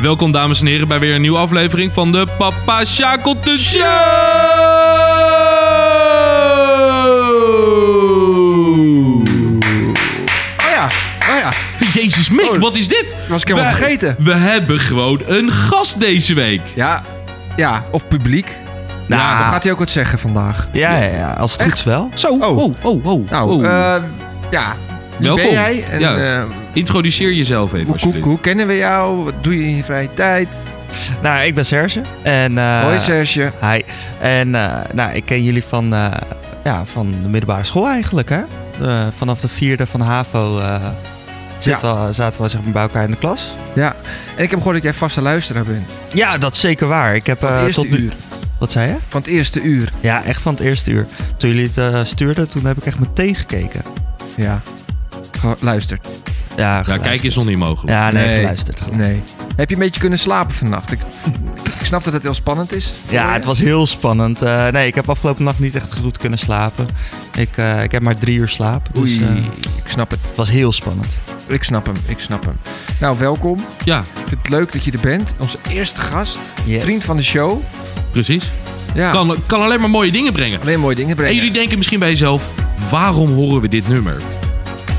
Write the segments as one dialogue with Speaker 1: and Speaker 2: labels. Speaker 1: Welkom dames en heren bij weer een nieuwe aflevering van de Papa Shackleton Show!
Speaker 2: Oh ja, oh ja.
Speaker 1: Jezus Mick,
Speaker 2: Oh,
Speaker 1: wat is dit?
Speaker 2: was ik helemaal
Speaker 1: we,
Speaker 2: vergeten.
Speaker 1: We hebben gewoon een gast deze week.
Speaker 2: Ja, ja of publiek. Nou,
Speaker 1: Ja.
Speaker 2: dan gaat hij ook wat zeggen vandaag.
Speaker 3: Ja, ja, ja, als het goed is wel.
Speaker 1: Zo, oh,
Speaker 2: Oh.
Speaker 1: oh, oh. oh.
Speaker 2: Nou,
Speaker 1: oh.
Speaker 2: eh, ja. Wie
Speaker 1: Welkom.
Speaker 2: ben jij? En,
Speaker 1: Ja.
Speaker 2: eh,
Speaker 1: Introduceer jezelf even
Speaker 2: hoe, hoe,
Speaker 1: alsjeblieft.
Speaker 2: hoe kennen we jou? Wat doe je in je vrije tijd?
Speaker 3: Nou, ik ben Serge. En, eh,
Speaker 2: Hoi Serge.
Speaker 3: Hi. En eh, nou, ik ken jullie van, eh, ja, van de middelbare school eigenlijk, hè? Eh, vanaf de vierde van HAVO eh, zitten we, zaten we zeg maar, bij elkaar in de klas.
Speaker 2: En ik heb gehoord dat jij vaste luisteraar bent.
Speaker 3: Ja, dat is zeker waar. Ik heb
Speaker 2: Van het
Speaker 3: eh,
Speaker 2: eerste
Speaker 3: tot nu...
Speaker 2: uur.
Speaker 3: Wat zei je?
Speaker 2: Van het eerste uur.
Speaker 3: Ja, echt van het eerste uur. Toen jullie het eh, stuurden, toen heb ik echt meteen gekeken.
Speaker 2: Ja. Geluisterd.
Speaker 3: Ja,
Speaker 1: Ja,
Speaker 3: geluisterd.
Speaker 1: kijk is nog niet mogelijk.
Speaker 3: Ja, nee,
Speaker 2: Nee.
Speaker 3: geluisterd. geluisterd.
Speaker 2: Nee. Heb je een beetje kunnen slapen vannacht? Ik, ik snap dat het heel spannend is.
Speaker 3: Ja, het was heel spannend. Eh, nee, ik heb afgelopen nacht niet echt goed kunnen slapen. Ik, eh, ik heb maar drie uur slaap. Dus,
Speaker 2: Oei,
Speaker 3: eh,
Speaker 2: ik snap het.
Speaker 3: Het was heel spannend.
Speaker 2: Ik snap hem, ik snap hem. Nou, welkom.
Speaker 1: Ja,
Speaker 2: Ik vind het leuk dat je er bent. Onze eerste gast.
Speaker 3: Yes.
Speaker 2: Vriend van de show.
Speaker 1: precies.
Speaker 2: Ja.
Speaker 1: Kan, kan alleen maar mooie dingen brengen.
Speaker 2: Alleen mooie dingen
Speaker 1: En
Speaker 2: brengen.
Speaker 1: jullie denken misschien bij jezelf, waarom horen we dit nummer?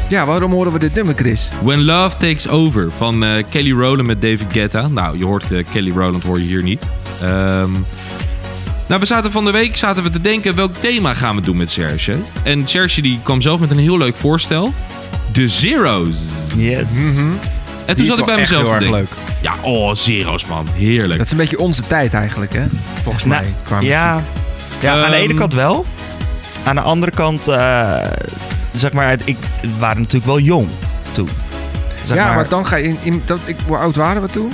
Speaker 2: Ja, waarom horen we dit nummer, Chris?
Speaker 1: When Love Takes Over van eh, Kelly Rowland met David Guetta. Nou, je hoort eh, Kelly Rowland hoor je hier niet. Ehm, nou, we zaten van de week zaten we te denken welk thema gaan we doen met Serge. En Serge die kwam zelf met een heel leuk voorstel. De Zeros.
Speaker 3: Yes.
Speaker 2: Mhm.
Speaker 3: Mhm.
Speaker 1: En toen zat ik bij mezelf te denken.
Speaker 2: leuk.
Speaker 1: Ja, oh, Zeros man. Heerlijk.
Speaker 2: Dat is een beetje onze tijd eigenlijk, hè? Volgens
Speaker 3: Nou,
Speaker 2: mij. Qua muziek.
Speaker 3: Ja, ja aan de
Speaker 1: Ehm.
Speaker 3: ene kant wel. Aan de andere kant, eh, zeg maar, het- ik we waren natuurlijk wel jong toen. Zeg
Speaker 2: ja maar... dan ga je in... in dat, ik, hoe oud waren we toen?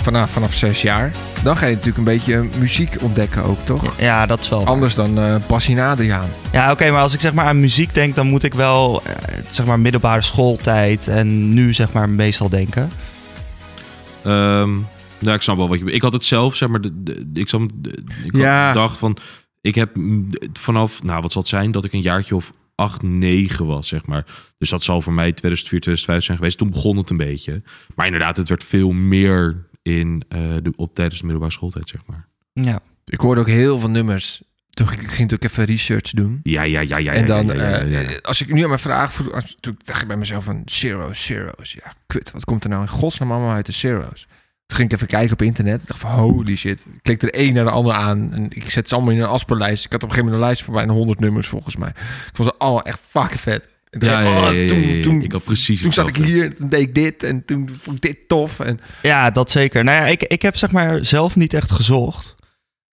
Speaker 2: Vanaf, vanaf zes jaar. Dan ga je natuurlijk een beetje eh, muziek ontdekken ook, toch?
Speaker 3: Ja, dat is wel.
Speaker 2: Anders dan eh Bassie en Adriaan.
Speaker 3: Ja, oké, maar als ik zeg maar aan muziek denk, dan moet ik wel, eh, zeg maar, middelbare schooltijd en nu, zeg maar, meestal denken.
Speaker 1: Ehm, nou, ik snap wel wat je Ik had het zelf, zeg maar. De, de- ik zat, de- ik had-
Speaker 2: Ja.
Speaker 1: dacht van. Ik heb mm, vanaf, nou, wat zal het zijn? Dat ik een jaartje of 8, 9 was, zeg maar. Dus dat zal voor mij 2004, 2005 zijn geweest. Toen begon het een beetje. Maar inderdaad, het werd veel meer in, eh, de, op, tijdens de middelbare schooltijd, zeg maar.
Speaker 3: Ja.
Speaker 2: Ik hoorde ook heel veel nummers. Toen ging ik natuurlijk even research doen.
Speaker 1: Ja, ja, ja, ja.
Speaker 2: en
Speaker 1: ja,
Speaker 2: dan,
Speaker 1: ja, ja, ja, ja.
Speaker 2: eh, als ik nu aan mijn vraag vroeg, als, toen dacht ik bij mezelf van zero's, zero's. Ja, kut, wat komt er nou in godsnaam allemaal uit de zero's? Toen ging ik even kijken op internet. Ik dacht van holy shit. Ik klik er één naar de ander aan. En ik zet ze allemaal in een asperlijst. Ik had op een gegeven moment een lijst van bijna 100 nummers volgens mij. Ik vond ze allemaal echt fucking vet. En toen
Speaker 1: ja,
Speaker 2: dacht ik,
Speaker 1: ja, ja,
Speaker 2: oh,
Speaker 1: ja, ja,
Speaker 2: toen-
Speaker 1: ja, ja.
Speaker 2: toen-
Speaker 1: ik had precies
Speaker 2: Toen zat ik
Speaker 1: hetzelfde.
Speaker 2: hier, en toen deed ik dit en toen vond ik dit tof. En
Speaker 3: Ja, dat zeker. Nou ja, ik, ik heb zeg maar zelf niet echt gezocht.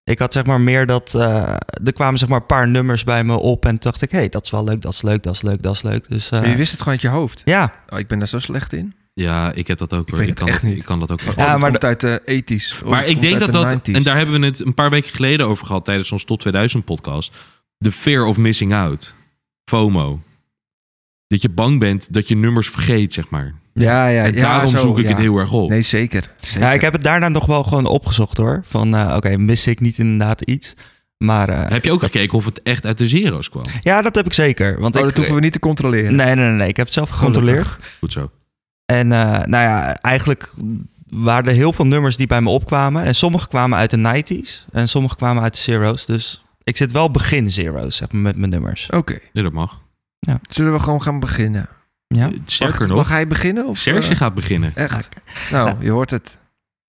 Speaker 3: Ik had zeg maar meer dat. eh, er kwamen zeg maar een paar nummers bij me op. En toen dacht ik, hé, hey, dat is wel leuk, dat is leuk, dat is leuk, dat is leuk. Dus eh,
Speaker 2: maar je wist het gewoon uit je hoofd.
Speaker 3: ja,
Speaker 2: Oh, ik ben daar zo slecht in.
Speaker 1: Ja, ik heb dat ook. hoor.
Speaker 2: weet
Speaker 1: Ik
Speaker 2: het
Speaker 1: kan,
Speaker 2: echt
Speaker 1: dat-
Speaker 2: niet. Oh,
Speaker 1: ik kan dat ook.
Speaker 2: ja,
Speaker 3: maar
Speaker 2: maar komt uit de 80s. Oh,
Speaker 1: Maar
Speaker 2: het
Speaker 1: ik
Speaker 2: komt
Speaker 1: denk dat
Speaker 2: uit
Speaker 1: dat,
Speaker 2: de 90s.
Speaker 1: en daar hebben we het een paar weken geleden over gehad tijdens ons Tot 2000 podcast. De fear of missing out. FOMO. Dat je bang bent dat je nummers vergeet, zeg maar.
Speaker 2: ja, ja,
Speaker 1: en
Speaker 2: ja,
Speaker 1: daarom
Speaker 2: zo,
Speaker 1: zoek ik
Speaker 2: ja.
Speaker 1: het heel erg op.
Speaker 2: Nee, zeker. zeker.
Speaker 3: ja, ik heb het daarna nog wel gewoon opgezocht hoor. Van eh, oké, mis ik niet inderdaad iets. Maar eh,
Speaker 1: Heb je ook gekeken of het echt uit de zero's kwam?
Speaker 3: ja, dat heb ik zeker. Want
Speaker 2: Oh,
Speaker 3: ik,
Speaker 2: dat hoeven we niet te controleren.
Speaker 3: nee, nee, nee, nee, ik heb het zelf gecontroleerd.
Speaker 1: Goed zo.
Speaker 3: En eh, nou ja, eigenlijk waren er heel veel nummers die bij me opkwamen. En sommige kwamen uit de 90s en sommige kwamen uit de zero's. Dus ik zit wel begin zero's zeg maar, met mijn nummers.
Speaker 2: Oké,
Speaker 1: Nee, dat mag.
Speaker 2: zullen we gewoon gaan beginnen?
Speaker 3: Ja.
Speaker 1: Sterker
Speaker 2: Wacht, Mag
Speaker 1: nog,
Speaker 2: hij beginnen? Of,
Speaker 1: Serge
Speaker 2: eh,
Speaker 1: gaat beginnen.
Speaker 2: echt? Nou, je hoort het.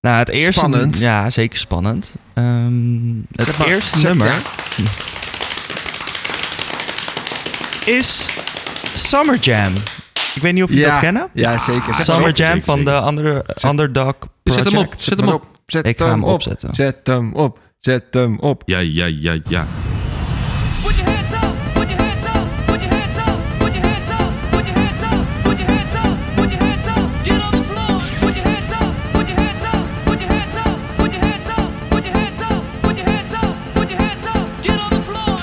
Speaker 3: Nou, het eerste.
Speaker 2: Spannend.
Speaker 3: Ja, zeker spannend. Ehm, het
Speaker 2: Zeg maar,
Speaker 3: eerste
Speaker 2: zeg-
Speaker 3: nummer
Speaker 2: ja.
Speaker 3: is Summer Jam. Ik weet niet of jullie
Speaker 2: Ja.
Speaker 3: dat kennen.
Speaker 2: Ja, zeker. Zet
Speaker 3: Summer
Speaker 1: maar op.
Speaker 3: Jam
Speaker 1: Zeker,
Speaker 3: van
Speaker 1: zeker.
Speaker 3: de andere, Underdog Project.
Speaker 1: Zet hem op. Zet hem
Speaker 2: maar
Speaker 1: op.
Speaker 2: Zet
Speaker 3: Ik ga hem opzetten.
Speaker 2: Zet hem op. Zet hem op.
Speaker 1: Ja, ja, ja, ja.
Speaker 4: Put your hands up, put your hands up, put your hands up, put your hands up, put your hands up, put your hands up, put your hands up, get on the floor, put your hands up, put your hands up, put your hands up, put your hands up, put your hands up, put your hands up, put your hands up, get on the floor.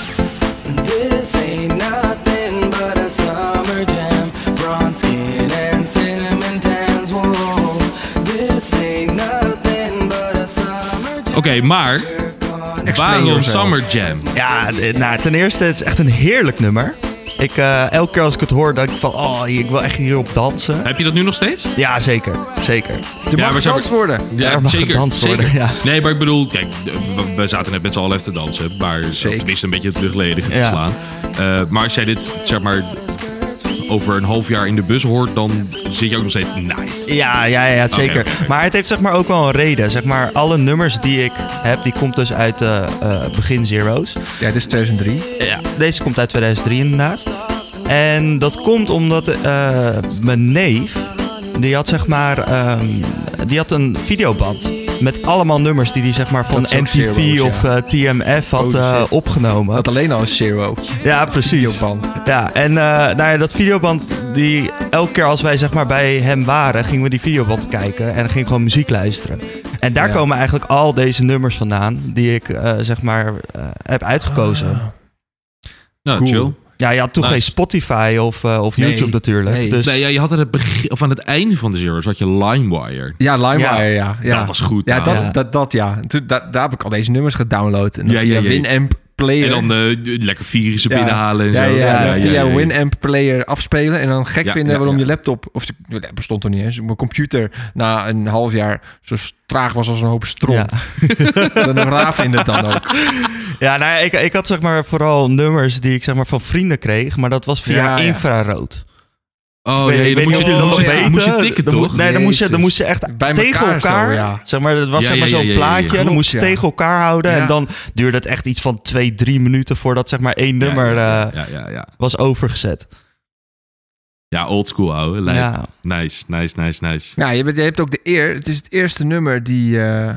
Speaker 5: This ain't nothing but a summer jam. Bronze skin and cinnamon tans. Whoa. This ain't nothing but a summer jam.
Speaker 1: Oké, maar waarom
Speaker 2: yourself.
Speaker 1: Summer Jam?
Speaker 3: Ja, d- nou, ten eerste, het is echt een heerlijk nummer. Ik, eh, elke keer als ik het hoor, denk ik van, oh, ik wil echt hierop dansen.
Speaker 1: Heb je dat nu nog steeds?
Speaker 3: Ja, zeker. Zeker.
Speaker 2: Er mag
Speaker 1: maar zou-
Speaker 2: gedanst worden.
Speaker 1: Ja,
Speaker 3: Er mag gedanst worden, ja.
Speaker 1: Nee, maar ik bedoel, kijk, we- we zaten net met z'n allen even te dansen. Maar of
Speaker 2: Zeker.
Speaker 1: tenminste een beetje het rugledige te
Speaker 3: Ja.
Speaker 1: slaan. Eh, maar als jij dit, zeg maar, over een half jaar in de bus hoort, dan zit je ook nog steeds nice.
Speaker 3: Ja, ja, ja, zeker.
Speaker 1: oké, oké.
Speaker 3: Maar het heeft zeg maar ook wel een reden. Zeg maar, alle nummers die ik heb, die komt dus uit eh, eh, begin Zero's.
Speaker 2: Ja, dit is 2003.
Speaker 3: Ja, deze komt uit 2003 inderdaad. En dat komt omdat eh, mijn neef, die had zeg maar, ehm, die had een videoband met allemaal nummers die hij zeg maar van
Speaker 2: Dat is ook
Speaker 3: MTV
Speaker 2: Zero's, ja.
Speaker 3: of eh, TMF had
Speaker 2: Holy
Speaker 3: eh,
Speaker 2: shit.
Speaker 3: opgenomen.
Speaker 2: Dat alleen al is zero.
Speaker 3: ja, precies.
Speaker 2: Videoband.
Speaker 3: Ja, en eh, nou ja, dat videoband, die, elke keer als wij zeg maar, bij hem waren, gingen we die videoband kijken en gingen gewoon muziek luisteren. En daar
Speaker 2: Ja.
Speaker 3: komen eigenlijk al deze nummers vandaan die ik eh, zeg maar, eh, heb uitgekozen.
Speaker 2: Ah.
Speaker 1: Nou,
Speaker 2: Cool.
Speaker 1: chill.
Speaker 3: Ja, je had toen
Speaker 1: Nice.
Speaker 3: geen Spotify of, eh, of
Speaker 2: Nou. Nee.
Speaker 3: YouTube natuurlijk.
Speaker 2: Nee.
Speaker 3: Dus
Speaker 1: Nee, ja, je had aan het, begin, of aan het einde van de Zero's had je LimeWire.
Speaker 2: Ja, LimeWire, ja.
Speaker 3: Ja.
Speaker 2: ja,
Speaker 1: Dat was goed.
Speaker 2: Ja,
Speaker 1: nou.
Speaker 2: dat,
Speaker 3: Ja.
Speaker 2: Dat, dat ja. En Toen, da- daar heb ik al deze nummers gedownload. En dan
Speaker 1: Ja, ja,
Speaker 2: via
Speaker 1: ja.
Speaker 2: Winamp Player.
Speaker 1: En dan eh, lekker virussen
Speaker 2: Ja.
Speaker 1: binnenhalen en
Speaker 2: ja,
Speaker 1: zo.
Speaker 2: ja,
Speaker 3: Ja,
Speaker 2: via Winamp Player afspelen. En dan gek
Speaker 1: Ja,
Speaker 2: vinden
Speaker 1: ja,
Speaker 2: waarom
Speaker 1: ja.
Speaker 2: je laptop... Of dat bestond toch niet eens. Mijn computer na een half jaar zo traag was als een hoop stront. Dan raar vinden het dan ook.
Speaker 3: Ja, nou ja, ik, ik had zeg maar vooral nummers die ik zeg maar van vrienden kreeg, maar dat was via
Speaker 2: Ja, ja.
Speaker 3: infrarood.
Speaker 1: Oh
Speaker 3: Ik weet-
Speaker 1: jee,
Speaker 3: ik
Speaker 1: dan
Speaker 3: weet
Speaker 1: moest je,
Speaker 3: niet of
Speaker 1: dan
Speaker 3: jullie dat
Speaker 1: moest je
Speaker 3: weten.
Speaker 1: tikken,
Speaker 3: Dan
Speaker 1: toch?
Speaker 3: moest- Nee, dan moest je, dan
Speaker 2: Oh, Jezus.
Speaker 3: moest je echt
Speaker 2: Bij
Speaker 3: tegen
Speaker 2: elkaar zo,
Speaker 3: elkaar.
Speaker 2: ja.
Speaker 3: Zeg maar, dat was
Speaker 1: Ja,
Speaker 3: zeg maar
Speaker 1: ja, ja,
Speaker 3: zo'n
Speaker 1: ja, ja, ja.
Speaker 3: plaatje en dan
Speaker 2: Klopt,
Speaker 3: moest je
Speaker 2: ja.
Speaker 3: tegen elkaar houden.
Speaker 2: Ja.
Speaker 3: En dan duurde het echt iets van twee, drie minuten voordat zeg maar één nummer
Speaker 1: Ja,
Speaker 3: eh,
Speaker 1: ja, ja, ja.
Speaker 3: was overgezet.
Speaker 1: Ja, oldschool, ouwe. Lijp.
Speaker 3: Ja.
Speaker 1: Nice, nice, nice, nice.
Speaker 2: Ja, je, bent- je hebt ook de eer. Het is het eerste nummer die... eh,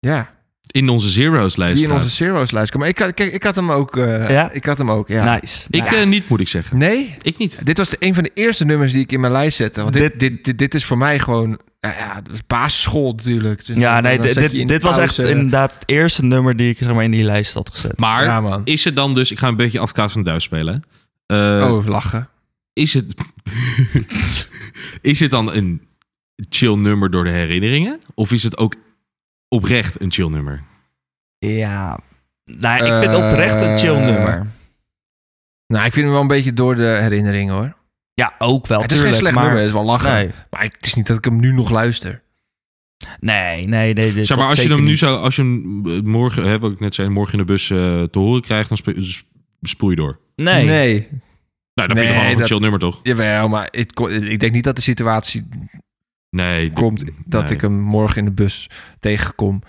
Speaker 2: ja,
Speaker 1: In onze Zero's-lijst
Speaker 2: die in
Speaker 1: staat.
Speaker 2: onze Zero's lijst komt. Maar ik, had- kijk, ik had hem ook. eh,
Speaker 3: Ja? Nou,
Speaker 2: Ik had hem ook, ja.
Speaker 3: Nice.
Speaker 1: Ik
Speaker 3: nice.
Speaker 1: eh, niet, moet ik zeggen.
Speaker 2: Nee?
Speaker 1: Ik niet.
Speaker 2: Dit was de, een van de eerste nummers die ik in mijn lijst zette. Want dit,
Speaker 3: Dit-
Speaker 2: dit, dit, dit is voor mij gewoon... nou ja, dat is basisschool natuurlijk. Dus
Speaker 3: Ja,
Speaker 2: dan-
Speaker 3: nee,
Speaker 2: dan
Speaker 3: dit,
Speaker 2: zet je in
Speaker 3: dit,
Speaker 2: de
Speaker 3: dit was echt
Speaker 2: pauze-
Speaker 3: inderdaad het eerste nummer die ik zeg maar in die lijst had gezet.
Speaker 1: Maar
Speaker 2: Ja, man.
Speaker 1: is het dan dus... Ik ga een beetje advocaat van de duif spelen. hè. Eh,
Speaker 2: Oh, lachen.
Speaker 1: Is het... is het dan een chill nummer door de herinneringen? Of is het ook oprecht een chill nummer?
Speaker 3: Ja. Nou, ik vind
Speaker 2: Eh,
Speaker 3: oprecht een chill nummer.
Speaker 2: Nou, ik vind hem wel een beetje door de herinnering, hoor.
Speaker 3: Ja, ook wel.
Speaker 2: het is geen
Speaker 3: tuurlijk,
Speaker 2: slecht
Speaker 3: maar-
Speaker 2: nummer, eh. het is wel lachen.
Speaker 3: Nee,
Speaker 2: Maar ik- het is niet dat ik hem nu nog luister.
Speaker 3: nee, nee. nee dit-
Speaker 1: Zeg maar, als
Speaker 3: dat
Speaker 1: je
Speaker 3: zeker
Speaker 1: hem nu
Speaker 3: niet.
Speaker 1: zou... Als je hem eh, morgen, hè, wat ik net zei, morgen in de bus eh, te horen krijgt... dan spe- s- spoel je door.
Speaker 3: Nee.
Speaker 1: Nou, dan vind je het
Speaker 2: Nee,
Speaker 1: gewoon nog een
Speaker 2: dat-
Speaker 1: chill nummer, toch?
Speaker 2: Jawel, maar het ko- ik denk niet dat de situatie
Speaker 1: Nee.
Speaker 2: komt dat
Speaker 1: nee.
Speaker 2: ik hem morgen in de bus tegenkom.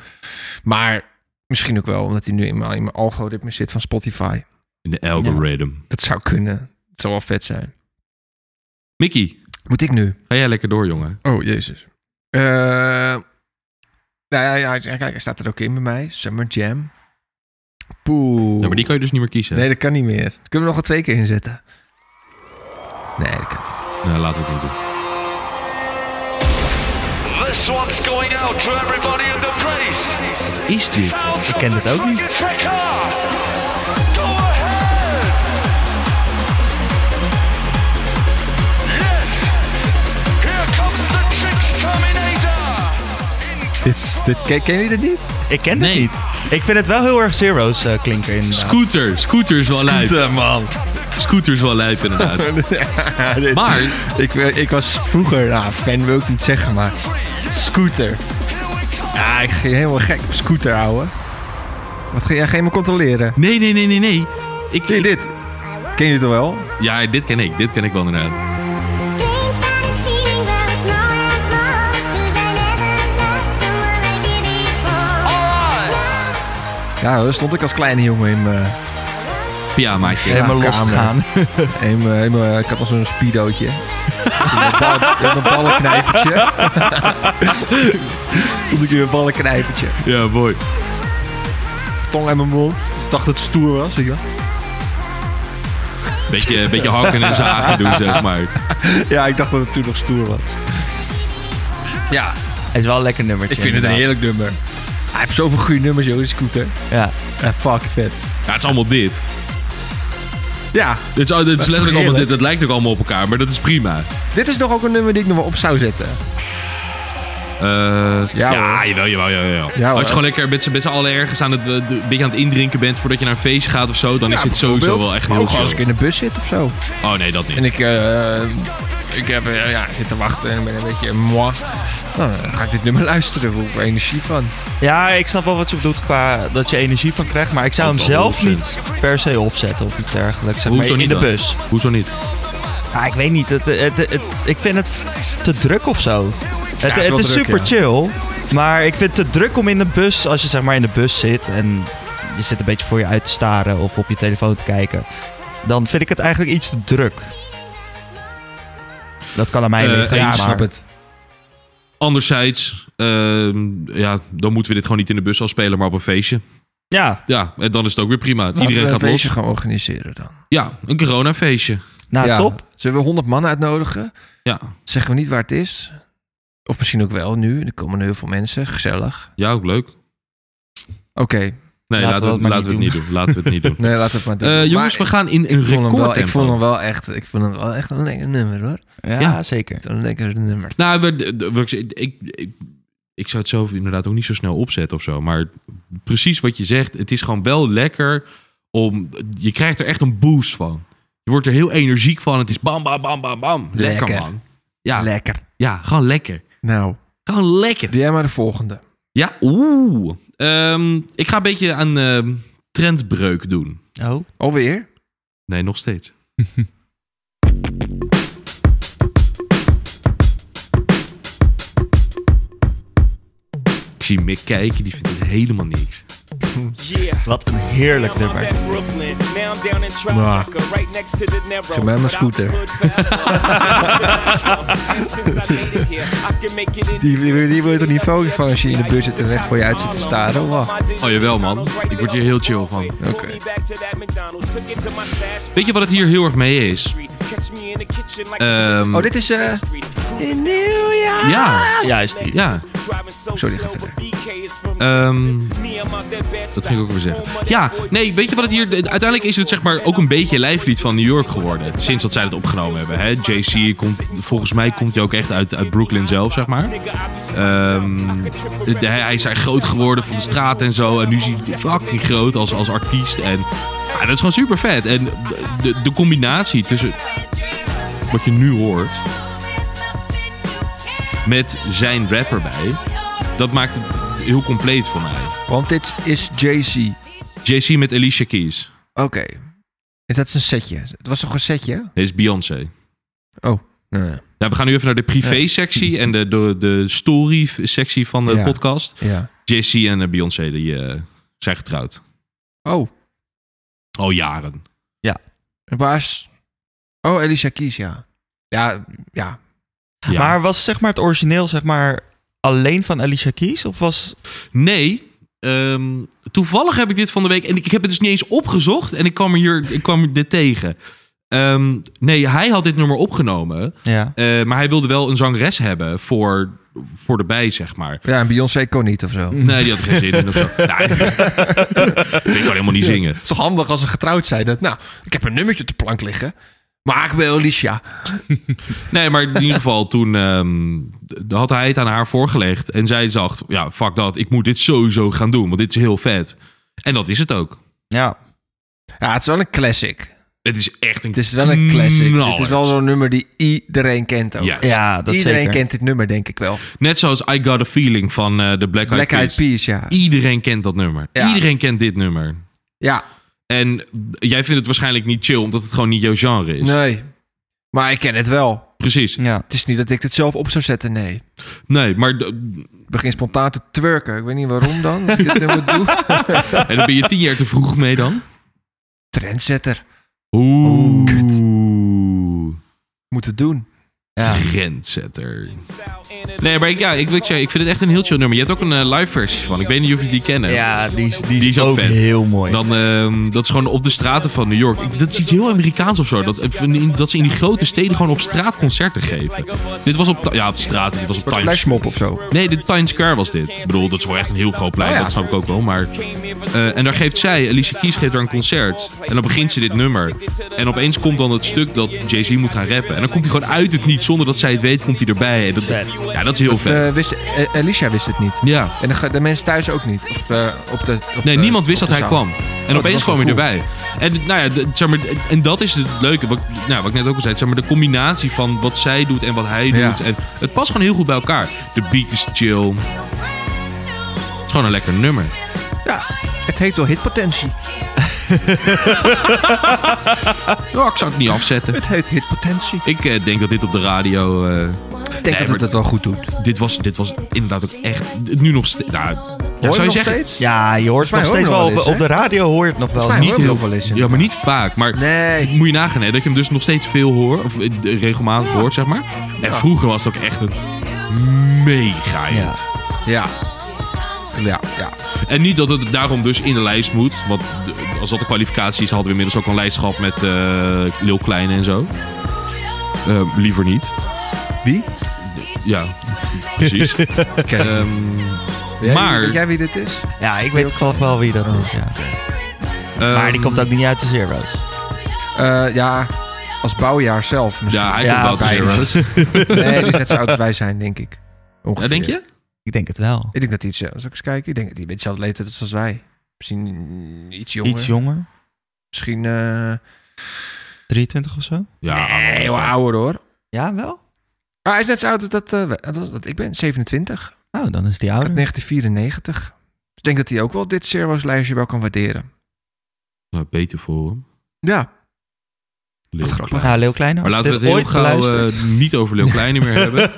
Speaker 2: Maar misschien ook wel omdat hij nu in mijn, in mijn algoritme zit van Spotify.
Speaker 1: In de algorithm.
Speaker 2: Dat zou kunnen. Het zou wel vet zijn.
Speaker 1: Mickey,
Speaker 2: Moet ik nu?
Speaker 1: ga jij lekker door, jongen.
Speaker 2: Oh, jezus. Eh, nou ja, ja, ja, kijk, hij staat er ook in bij mij. Summer Jam. Poeh.
Speaker 1: Ja, maar die kan je dus niet meer kiezen.
Speaker 2: Nee, dat kan niet meer. Dat kunnen we nog wel twee keer inzetten. Nee, dat kan niet.
Speaker 1: Nou, laten we het niet doen.
Speaker 6: This one's going out to everybody in the place.
Speaker 1: Wat is dit?
Speaker 6: Sounds
Speaker 3: Ik ken dit ook niet.
Speaker 6: like a tracker. Go ahead. Yes. Here comes the Tricks Terminator. In
Speaker 2: Dit, dit, ken, ken je dit niet?
Speaker 3: Ik ken dit
Speaker 1: Nee.
Speaker 3: niet. Ik vind het wel heel erg Zero's eh, klinken in.
Speaker 1: Scooter. Scooter is wel lijp.
Speaker 2: Scooter, man.
Speaker 1: Scooter is wel lijp, inderdaad.
Speaker 2: Dit-
Speaker 1: Maar,
Speaker 2: Ik, eh, ik was vroeger, nou, fan wil ik niet zeggen, maar scooter. Ja, ik ging helemaal gek op scooter, ouwe. Wat ga jij geen me controleren?
Speaker 1: nee, nee, nee, nee, nee. Ik,
Speaker 2: Ken je
Speaker 1: ik-
Speaker 2: dit? Ken je dit al wel?
Speaker 1: ja, dit ken ik. Dit ken ik wel inderdaad.
Speaker 7: Strange that it's feeling that it's not at all. 'Cause I never felt someone like you before.
Speaker 2: Ja, daar stond ik als kleine jongen in eh, mijn...
Speaker 1: Ja, maatje.
Speaker 3: Helemaal los te
Speaker 2: kamer.
Speaker 3: gaan.
Speaker 2: in mijn- in mijn- eh, ik had al zo'n speedootje. Met een bal- met een ballenknijpertje. Stond ik in een ballenknijpertje.
Speaker 1: Ja, mooi.
Speaker 2: Tong en mijn mond. Ik dacht dat het stoer was, weet je wel.
Speaker 1: Beetje, beetje hakken en zagen doen, zeg maar.
Speaker 2: Ja, ik dacht dat het toen nog stoer was. Ja,
Speaker 3: Het is wel een lekker nummertje.
Speaker 2: Ik vind het een heerlijk nummer. Hij heeft zoveel goede nummers, joh, die scooter.
Speaker 3: Ja.
Speaker 2: Ja, fuck vet.
Speaker 1: Ja, het is allemaal dit.
Speaker 2: Ja,
Speaker 1: Dit is, oh, dit is
Speaker 2: toch
Speaker 1: letterlijk allemaal
Speaker 2: heerlijk?
Speaker 1: dit. Dat lijkt ook allemaal op elkaar, maar dat is prima.
Speaker 2: dit is nog ook een nummer die ik nog wel op zou zetten.
Speaker 1: Eh, Eh, ja, jawel, jawel, jawel, jawel.
Speaker 2: Ja, hoor.
Speaker 1: Als je gewoon lekker met z'n met z'n allen ergens aan het, eh, d- een beetje aan het indrinken bent voordat je naar een feestje gaat of zo, dan is dit sowieso wel echt heel
Speaker 2: Ook als ik
Speaker 1: chill.
Speaker 2: in de bus zit of zo.
Speaker 1: Oh nee, dat niet.
Speaker 2: En ik, eh, ik heb, eh, ja, ik zit te wachten en ben een beetje moi. Nou, dan ga ik dit nummer luisteren. Daar voel ik wel energie van.
Speaker 3: Ja, ik snap wel wat je bedoelt qua dat je energie van krijgt. Maar ik zou hem
Speaker 1: Dat is wel
Speaker 3: zelf
Speaker 1: onzin.
Speaker 3: niet per se opzetten of iets dergelijks. Zeg maar
Speaker 1: Hoezo
Speaker 3: in
Speaker 1: niet
Speaker 3: de
Speaker 1: dan?
Speaker 3: bus.
Speaker 1: Hoezo niet?
Speaker 3: Ja, ik weet niet. Het, het, het- ik vind het te druk of zo. Het,
Speaker 2: het is
Speaker 3: het,
Speaker 2: wel
Speaker 3: is
Speaker 2: druk,
Speaker 3: super
Speaker 2: ja.
Speaker 3: chill. Maar ik vind het te druk om in de bus, als je zeg maar in de bus zit en je zit een beetje voor je uit te staren of op je telefoon te kijken. Dan vind ik het eigenlijk iets te druk. Dat kan aan mij
Speaker 1: Eh,
Speaker 3: liggen.
Speaker 1: ja,
Speaker 3: maar-
Speaker 1: snap
Speaker 2: het.
Speaker 1: Anderzijds, ehm, ja, dan moeten we dit gewoon niet in de bus al spelen, maar op een feestje.
Speaker 3: Ja,
Speaker 1: Ja, en dan is het ook weer prima.
Speaker 2: Laten we
Speaker 1: Iedereen
Speaker 2: een
Speaker 1: gaat
Speaker 2: feestje
Speaker 1: los.
Speaker 2: gaan organiseren dan.
Speaker 1: Ja, een coronafeestje.
Speaker 3: nou
Speaker 2: Ja.
Speaker 3: top.
Speaker 2: Zullen we 100 man uitnodigen?
Speaker 1: Ja,
Speaker 2: Zeggen we niet waar het is? Of misschien ook wel nu. Er komen heel veel mensen. Gezellig.
Speaker 1: ja ook leuk.
Speaker 2: Oké.
Speaker 1: Nee,
Speaker 3: Laten we
Speaker 1: laten,
Speaker 3: dat
Speaker 1: we,
Speaker 3: maar
Speaker 1: laten we het
Speaker 3: niet
Speaker 1: niet doen. Laten we het niet doen.
Speaker 2: Nee, laten we het maar doen.
Speaker 1: Eh,
Speaker 2: Maar
Speaker 1: jongens, we gaan in een
Speaker 2: ik vond hem wel, ik
Speaker 1: recordtempo.
Speaker 2: vond hem wel echt, ik vond hem wel echt een lekker nummer hoor.
Speaker 3: Ja,
Speaker 1: Ja.
Speaker 3: zeker.
Speaker 2: Een lekker nummer.
Speaker 1: Nou, we- de- de- we- ik, ik, ik, ik zou het zelf inderdaad ook niet zo snel opzetten of zo. Maar precies wat je zegt, het is gewoon wel lekker om... Je krijgt er echt een boost van. Je wordt er heel energiek van. Het is bam, bam, bam, bam, bam. Lekker,
Speaker 2: Lekker.
Speaker 1: man. Ja,
Speaker 2: Lekker.
Speaker 1: ja, gewoon lekker.
Speaker 2: Nou,
Speaker 1: Gewoon lekker.
Speaker 2: doe jij maar de volgende.
Speaker 1: Ja, oeh. Ehm, ik ga een beetje aan ehm, trendbreuk doen.
Speaker 3: Oh.
Speaker 2: Alweer?
Speaker 1: Nee, nog steeds. Ik zie Mick kijken, die vindt het helemaal niks.
Speaker 3: Wat een heerlijk nummer.
Speaker 2: Nou.
Speaker 8: Geef
Speaker 2: mij mijn scooter. Die- die- die wordt er niet vrolijk van als je in de bus zit en echt voor je uit zit te staren, of wat?
Speaker 1: Oh, jawel, man. Ik word hier heel chill van.
Speaker 2: Oké.
Speaker 1: Weet je wat het hier heel erg mee is? Ehm,
Speaker 2: Oh, dit is eh in New York.
Speaker 1: Ja,
Speaker 3: Juist die.
Speaker 1: ja.
Speaker 2: Sorry, ga verder.
Speaker 1: Ehm, dat ging ik ook weer zeggen. Ja, nee, weet je wat het hier... Uiteindelijk is het zeg maar ook een beetje lijflied van New York geworden. Sinds dat zij het opgenomen hebben. Hè? JC komt, volgens mij komt hij ook echt uit, uit Brooklyn zelf, zeg maar. Ehm, de- hij, hij is daar groot geworden van de straat en zo. En nu is hij fucking groot als, als artiest. En ja, dat is gewoon super vet. En de, de combinatie tussen wat je nu hoort... met zijn rap erbij... dat maakt het heel compleet voor mij.
Speaker 2: Want dit is JC.
Speaker 1: JC met Alicia Keys.
Speaker 2: Oké. Is dat zijn setje? Het was toch een setje?
Speaker 1: Dit is Beyoncé.
Speaker 2: Oh. Nee.
Speaker 1: Ja, we gaan nu even naar de privé-sectie en de, de, de story-sectie van de
Speaker 2: Ja.
Speaker 1: podcast.
Speaker 2: Ja.
Speaker 1: JC en eh, Beyoncé die, eh, zijn getrouwd.
Speaker 2: Oh.
Speaker 1: Al jaren.
Speaker 2: Waar is... Oh, Alicia Keys, ja. Ja, ja.
Speaker 1: Ja.
Speaker 3: Maar was zeg maar het origineel zeg maar alleen van Alicia Keys? Of was...
Speaker 1: Nee. ehm, toevallig heb ik dit van de week. En ik heb het dus niet eens opgezocht. En ik kwam, er hier, ik kwam dit tegen. Ehm, nee, hij had dit nummer opgenomen.
Speaker 3: Ja.
Speaker 1: eh, maar hij wilde wel een zangeres hebben voor, voor de bij, zeg maar.
Speaker 2: Ja, en Beyoncé kon niet of zo. Het
Speaker 1: Nee, die had er geen zin in of zo. Nee, ik kan helemaal niet zingen.
Speaker 2: is toch handig als ze getrouwd zijn. Dat, nou, ik heb een nummertje op de plank liggen. Maar ik ben Alicia.
Speaker 1: Nee, maar in ieder geval, toen ehm, d- had hij het aan haar voorgelegd. En zij dacht, ja, fuck dat. Ik moet dit sowieso gaan doen, want dit is heel vet. En dat is het ook.
Speaker 3: Ja.
Speaker 2: Ja, het is wel een classic.
Speaker 1: Het is echt een
Speaker 2: Het is wel een classic.
Speaker 1: knaller.
Speaker 2: Het is wel zo'n nummer die iedereen kent ook.
Speaker 1: Ja.
Speaker 3: Ja, dat
Speaker 2: iedereen
Speaker 3: zeker.
Speaker 2: kent dit nummer, denk ik wel.
Speaker 1: Net zoals I Got A Feeling van eh de Black Eyed
Speaker 2: Black Eyed
Speaker 1: Peas.
Speaker 2: Peas, ja.
Speaker 1: Iedereen kent dat nummer.
Speaker 2: Ja.
Speaker 1: Iedereen kent dit nummer.
Speaker 2: Ja,
Speaker 1: En jij vindt het waarschijnlijk niet chill, omdat het gewoon niet jouw genre is.
Speaker 2: nee. Maar ik ken het wel.
Speaker 1: Precies.
Speaker 3: Ja.
Speaker 2: Het is niet dat ik het zelf op zou zetten, nee.
Speaker 1: Nee, maar d-
Speaker 2: Ik begin spontaan te twerken. Ik weet niet waarom dan. Als ik dit nummer doe.
Speaker 1: en dan ben je tien jaar te vroeg mee dan.
Speaker 2: Trendsetter.
Speaker 1: Oeh.
Speaker 2: Oh, kut. Moet het doen.
Speaker 3: Ja.
Speaker 1: Trendsetter. Nee, maar ik, ja, ik, wil zeggen, ik vind het echt een heel chill nummer. Je hebt ook een eh, live versie van. Ik weet niet of je die kennen.
Speaker 3: Ja, die is, die is,
Speaker 1: Die is ook
Speaker 3: ook
Speaker 1: vet.
Speaker 3: heel mooi.
Speaker 1: Dan, ehm, dat is gewoon op de straten van New York. Ik- Dat is iets heel Amerikaans of zo. Dat, dat ze in die grote steden gewoon op straat concerten geven. Dit was op, ta- ja, op de straten. Dit was op Times
Speaker 2: Flashmob of zo.
Speaker 1: Nee, de Times Square was dit. Ik bedoel, dat is wel echt een heel groot plein.
Speaker 2: Oh ja.
Speaker 1: Dat snap ik ook wel. Maar, eh, en daar geeft zij, Alicia Keys geeft daar een concert. En dan begint ze dit nummer. En opeens komt dan het stuk dat Jay-Z moet gaan rappen. En dan komt hij gewoon uit het niets Zonder dat zij het weet, komt hij erbij. En dat,
Speaker 3: Vet.
Speaker 1: ja, dat is heel vet.
Speaker 2: Eh, wist, eh, Alicia wist het niet.
Speaker 1: ja.
Speaker 2: En de, ge- de mensen thuis ook niet. Of, eh, op de, op
Speaker 1: Nee,
Speaker 2: de-
Speaker 1: niemand wist
Speaker 2: op
Speaker 1: dat
Speaker 2: de
Speaker 1: hij
Speaker 2: zaal. Oh,
Speaker 1: kwam. En
Speaker 2: dat
Speaker 1: opeens
Speaker 2: was
Speaker 1: kwam hij
Speaker 2: wel
Speaker 1: erbij. En, nou ja, d- zeg maar, en dat is het leuke. Wat, ik- nou, wat ik net ook al zei. Zeg maar, de combinatie van wat zij doet en wat hij
Speaker 2: Ja.
Speaker 1: doet. En, het past gewoon heel goed bij elkaar. De beat is chill. Het is gewoon een lekker nummer.
Speaker 2: Ja, het heeft wel hitpotentie.
Speaker 1: Ja, Oh, ik zou het niet afzetten.
Speaker 2: Het heet hitpotentie.
Speaker 1: Ik eh, denk dat dit op de radio... eh,
Speaker 2: Ik denk dat
Speaker 1: maar-
Speaker 2: het het wel goed doet.
Speaker 1: dit, was, dit was inderdaad ook echt... Nu nog steeds... Nou, ja,
Speaker 2: Hoor
Speaker 1: zou je
Speaker 2: je nog
Speaker 1: zeggen...
Speaker 2: steeds?
Speaker 3: Ja, je hoort
Speaker 2: mij
Speaker 3: nog steeds
Speaker 2: hoor
Speaker 3: wel
Speaker 2: nog
Speaker 3: op,
Speaker 2: wel eens,
Speaker 3: op de radio hoor je het nog wel.
Speaker 2: Volgens mij
Speaker 3: eens.
Speaker 1: Niet
Speaker 2: hoor ik
Speaker 1: heel
Speaker 2: nog wel eens,
Speaker 1: Ja, maar niet vaak. Maar
Speaker 2: Nee.
Speaker 1: moet je nagaan hè, dat je hem dus nog steeds veel hoort. Of eh, regelmatig hoort, zeg maar. En vroeger was het ook echt een mega hit.
Speaker 3: Ja.
Speaker 2: Ja. Ja, ja.
Speaker 1: En niet dat het daarom dus in de lijst moet. Want de- als dat de kwalificatie is, hadden we inmiddels ook een lijst gehad met eh Lil Kleine en zo. Eh, liever niet.
Speaker 2: Wie?
Speaker 1: Ja, precies. Ehm,
Speaker 2: Weet jij-
Speaker 1: Maar-
Speaker 2: Weet jij wie dit is?
Speaker 3: Ja, ik weet geloof wel wie dat is. Ja. Maar die
Speaker 1: ehm,
Speaker 3: komt ook niet uit de Zero's.
Speaker 2: Eh, ja, als bouwjaar zelf misschien.
Speaker 1: Ja, hij
Speaker 3: Ja, dus-
Speaker 1: komt wel uit de
Speaker 2: oké.
Speaker 1: zero's.
Speaker 2: Nee, die is net zo oud als wij zijn, denk ik. Ongeveer.
Speaker 1: Ja, denk je?
Speaker 3: Ik denk het wel.
Speaker 2: Ik denk dat hij iets... eh, Zal ik eens kijken? Ik denk dat hij een beetje dezelfde leeftijd is als wij. Misschien mm, iets jonger.
Speaker 3: Iets jonger.
Speaker 2: Misschien... eh,
Speaker 3: 23 of zo?
Speaker 1: Ja,
Speaker 2: nee, heel
Speaker 1: oud.
Speaker 2: ouder hoor.
Speaker 3: Ja, wel.
Speaker 2: Ah, hij is net zo oud als dat, eh, wij- dat, dat ik ben. 27.
Speaker 3: Nou, dan is die
Speaker 2: Uit
Speaker 3: ouder.
Speaker 2: 1994. Ik denk dat hij ook wel dit Zero's lijstje wel kan waarderen.
Speaker 1: Nou, Beter voor hem.
Speaker 2: Ja.
Speaker 1: Lil
Speaker 2: grappig.
Speaker 1: Kleine.
Speaker 3: Ja, Leeuw Kleine.
Speaker 1: Maar
Speaker 3: als
Speaker 1: laten we
Speaker 3: dit
Speaker 1: het heel
Speaker 3: ooit
Speaker 1: gauw eh,
Speaker 3: beluistert.
Speaker 1: niet over Lil Kleine meer hebben.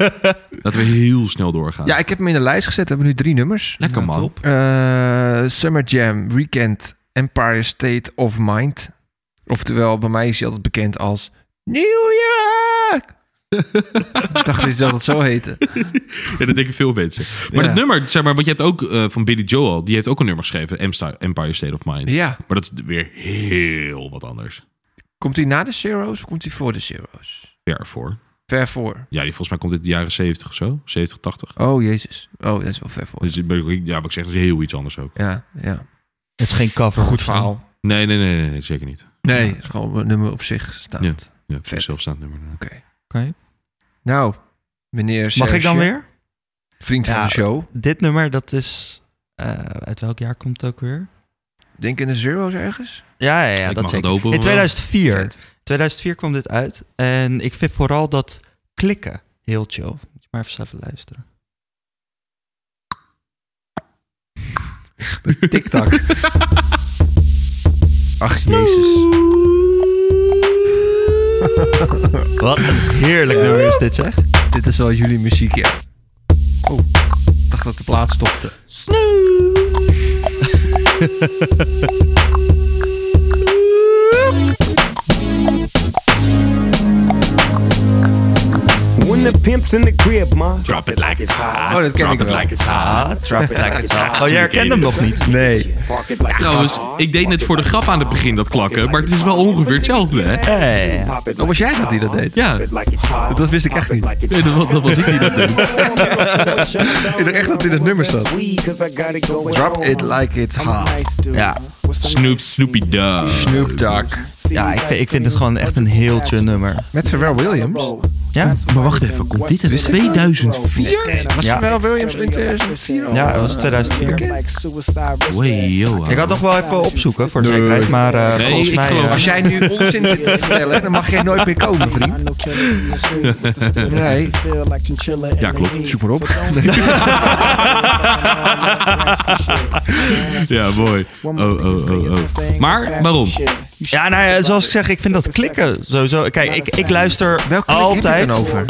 Speaker 1: Laten we heel snel doorgaan.
Speaker 2: Ja, ik heb hem in de lijst gezet. We hebben nu drie nummers.
Speaker 1: Lekker
Speaker 3: Nou,
Speaker 1: man.
Speaker 3: top.
Speaker 2: Eh, Summer Jam, Weekend, Empire State of Mind. Oftewel, bij mij is hij altijd bekend als New York. Ik dacht dat je dat het zo heette.
Speaker 1: Ja, dat denken veel mensen. Maar
Speaker 2: Ja.
Speaker 1: het nummer, zeg maar, want je hebt ook eh, van Billy Joel, die heeft ook een nummer geschreven, Em- Sta- Empire State of Mind.
Speaker 2: Ja.
Speaker 1: Maar dat is weer heel wat anders.
Speaker 2: Komt hij na de Zero's of komt hij voor de Zero's?
Speaker 1: Ver voor.
Speaker 2: Ver voor.
Speaker 1: Ja, die volgens mij komt in de jaren 70 of zo. 70, 80.
Speaker 2: Oh, jezus. Oh, dat is wel ver voor.
Speaker 1: Dus, ik ben- ja, wat ik zeg, dat is heel iets anders ook.
Speaker 2: Ja, ja.
Speaker 3: Het is geen cover.
Speaker 2: Goed verhaal.
Speaker 1: Nee, nee, nee, nee, nee, zeker niet.
Speaker 2: Nee, het is gewoon een nummer op zich staat.
Speaker 1: Ja. Ja,
Speaker 2: Vet.
Speaker 1: zelfstaand nummer. inderdaad.
Speaker 3: Oké.
Speaker 2: Nou, meneer
Speaker 3: Mag ik dan
Speaker 2: Serge,
Speaker 3: weer?
Speaker 2: Vriend van
Speaker 3: Ja.
Speaker 2: de show.
Speaker 3: Dit nummer, dat is... eh, uit welk jaar komt het ook weer?
Speaker 2: Denk in de Zero's ergens?
Speaker 3: Ja, ja, ja
Speaker 1: Ik
Speaker 3: dat
Speaker 1: mag het
Speaker 3: zeker.
Speaker 1: hopen
Speaker 3: In
Speaker 1: wel.
Speaker 3: 2004.
Speaker 2: Vet.
Speaker 3: 2004 kwam dit uit. En ik vind vooral dat klikken heel chill. Moet je maar even, even luisteren.
Speaker 2: Tik-tak. Ach, jezus.
Speaker 3: Wat een heerlijk nummer is dit, zeg.
Speaker 2: Dit is wel jullie muziek, ja. Oh, ik dacht dat de plaat stopte.
Speaker 8: When the pimp's in the crib, ma.
Speaker 1: Drop it like it's hot.
Speaker 2: Oh, dat ken ik wel.
Speaker 1: it's hot.
Speaker 3: Drop it like it's hot. Oh, jij herkent hem nog niet?
Speaker 2: Nee.
Speaker 1: Trouwens, ik deed net voor de grap aan het begin dat klakken, maar het is wel ongeveer hetzelfde, hè?
Speaker 3: Hey.
Speaker 2: Oh, was jij dat die dat deed?
Speaker 1: Ja,
Speaker 2: Dat wist ik echt niet.
Speaker 1: nee, dat, was- dat was ik die dat deed.
Speaker 2: Ik dacht echt dat in het nummer zat. Drop it like it's hot.
Speaker 3: Ja.
Speaker 1: Snoop Snoopy Dog.
Speaker 2: Snoop Dogg.
Speaker 3: Ja, ik vind, ik vind het gewoon echt een heel chill nummer.
Speaker 2: Met Pharrell Williams.
Speaker 3: Ja?
Speaker 1: Maar wacht even, komt dit uit 2004?
Speaker 2: Was
Speaker 3: Ja.
Speaker 2: Pharrell Williams in 2004? al?
Speaker 3: Ja, dat was 2004.
Speaker 1: Way, yo,
Speaker 3: Ik had nog wel even opzoeken voor de zekerheid, maar eh,
Speaker 1: Nee,
Speaker 3: volgens
Speaker 1: ik
Speaker 3: mij...
Speaker 1: geloof-
Speaker 3: eh,
Speaker 2: Als jij nu onzin zit te vertellen, dan mag jij nooit meer komen, vriend. Nee.
Speaker 1: Ja, klopt.
Speaker 2: Zoek maar op.
Speaker 1: Ja, mooi. Oh, oh, oh, oh. Maar, waarom?
Speaker 3: ja, nou ja, zoals ik zeg, ik vind dat klikken sowieso... Kijk, ik, ik luister
Speaker 2: Welk klik heb je
Speaker 3: altijd...
Speaker 2: dan over?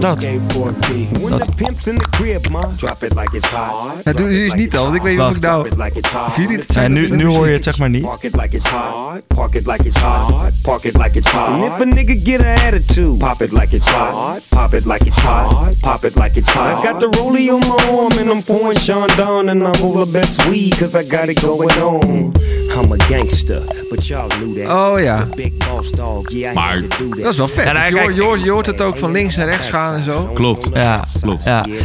Speaker 3: Dat.
Speaker 8: When the pimp's in the crib, ma. Drop it like it's hot.
Speaker 2: Dat doen jullie dus niet al, want ik weet niet of ik
Speaker 3: Wacht.
Speaker 2: nou...
Speaker 8: Of
Speaker 2: jullie het
Speaker 3: Ja,
Speaker 2: zijn,
Speaker 3: Nou, nu,
Speaker 2: dat is
Speaker 3: nu
Speaker 2: een
Speaker 3: hoor je
Speaker 2: muziek.
Speaker 3: het zeg maar niet.
Speaker 8: Park it like it's hot. Park it like it's hot. Park it like it's hot. And if a nigga get an attitude, pop it like it's hot. Pop it like it's hot. Pop it like it's hot. I got the rollie on my arm and I'm pouring Sean Don and I'm all the best weed cause I got it going on. I'm a gangster, but y'all knew that.
Speaker 2: Oh ja.
Speaker 8: Big boss dog, yeah, I
Speaker 1: Maar-
Speaker 8: had to do that.
Speaker 2: Dat is wel vet.
Speaker 3: Ja, nou,
Speaker 2: je, hoort,
Speaker 3: kijk,
Speaker 2: je hoort- je hoort het ook van links naar rechts gaan en zo.
Speaker 1: Klopt.
Speaker 3: Ja,
Speaker 1: Klopt.
Speaker 3: Ja. Nou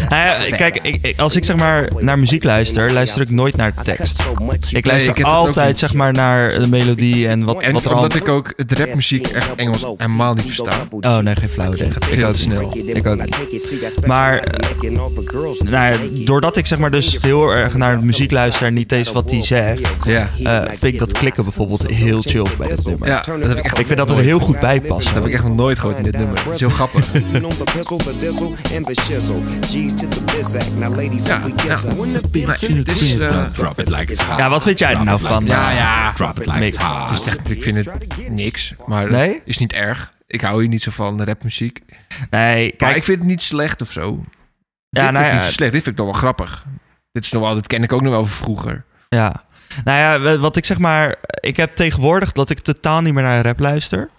Speaker 3: ja, kijk, ik, ik- als ik zeg maar naar muziek luister, luister natuurlijk nooit naar de tekst. Ik
Speaker 2: Nee,
Speaker 3: luister
Speaker 2: ik heb dat ook
Speaker 3: altijd
Speaker 2: niet.
Speaker 3: zeg maar naar de melodie en wat,
Speaker 2: En
Speaker 3: wat er al...
Speaker 2: omdat ik ook het rapmuziek echt Engels helemaal niet versta.
Speaker 3: Oh nee, geen flauw idee. Ik
Speaker 2: veel
Speaker 3: ook
Speaker 2: te
Speaker 3: niet.
Speaker 2: snel.
Speaker 3: Ik ook niet. Maar, eh, Nou ja, doordat ik zeg maar dus heel erg naar de muziek luister en niet eens wat die zegt,
Speaker 2: Ja.
Speaker 3: eh, vind ik dat klikken bijvoorbeeld heel chill bij dit nummer.
Speaker 2: Ja, dat heb ik echt
Speaker 3: Ik vind dat er heel goed bij past.
Speaker 2: Dat heb ik echt nog nooit gehoord in dit nummer. Het is heel grappig. Ja, ja. Het is, eh,
Speaker 1: Drop it like it's hot.
Speaker 3: Ja, wat vind jij er nou van?
Speaker 2: Ja, ja.
Speaker 1: Drop it like
Speaker 3: Mick.
Speaker 1: it's hot.
Speaker 2: het is echt, ik vind het niks, maar
Speaker 3: Nee?
Speaker 2: het is niet erg. Ik hou hier niet zo van rapmuziek. Maar
Speaker 3: Nee, kijk,
Speaker 2: ik vind het niet slecht of zo.
Speaker 3: ja,
Speaker 2: dit
Speaker 3: nou
Speaker 2: vind ik
Speaker 3: ja,
Speaker 2: niet slecht. Dit vind ik nog wel grappig. Dit is nog wel, dit ken ik ook nog wel van vroeger.
Speaker 3: Ja. Nou ja, we- wat ik zeg maar... Ik heb tegenwoordig dat ik totaal niet meer naar rap luister.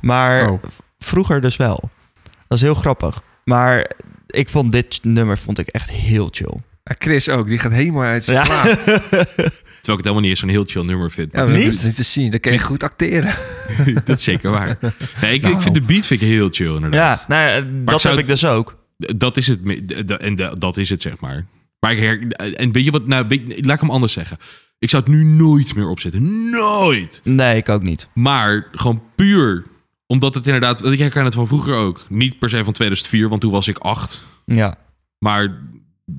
Speaker 3: Maar
Speaker 2: Oh.
Speaker 3: v- vroeger dus wel. Dat is heel grappig. Maar ik vond dit nummer vond ik echt heel chill.
Speaker 2: Ja, Chris ook, die gaat helemaal uit zijn
Speaker 3: Ja.
Speaker 2: plaat. ja.
Speaker 1: Terwijl ik het helemaal niet eens zo'n heel chill nummer vind. maar
Speaker 2: dat
Speaker 3: Niet?
Speaker 2: is niet te zien. Dan kan je goed acteren.
Speaker 1: dat is zeker waar. Nee, ik, ik vind de beat vind ik heel chill
Speaker 3: Ja,
Speaker 1: inderdaad.
Speaker 3: nou ja, dat
Speaker 1: zou-
Speaker 3: heb ik dus ook.
Speaker 1: Dat is het. me- d- d- En d- dat is het, zeg maar. Maar ik her- en weet je wat, nou, weet- laat ik hem anders zeggen. Ik zou het nu nooit meer opzetten. Nooit!
Speaker 3: Nee, ik ook niet.
Speaker 1: Maar gewoon puur omdat het inderdaad... want Ik herken het van vroeger ook. Niet per se van 2004, want toen was ik acht.
Speaker 3: Ja.
Speaker 1: Maar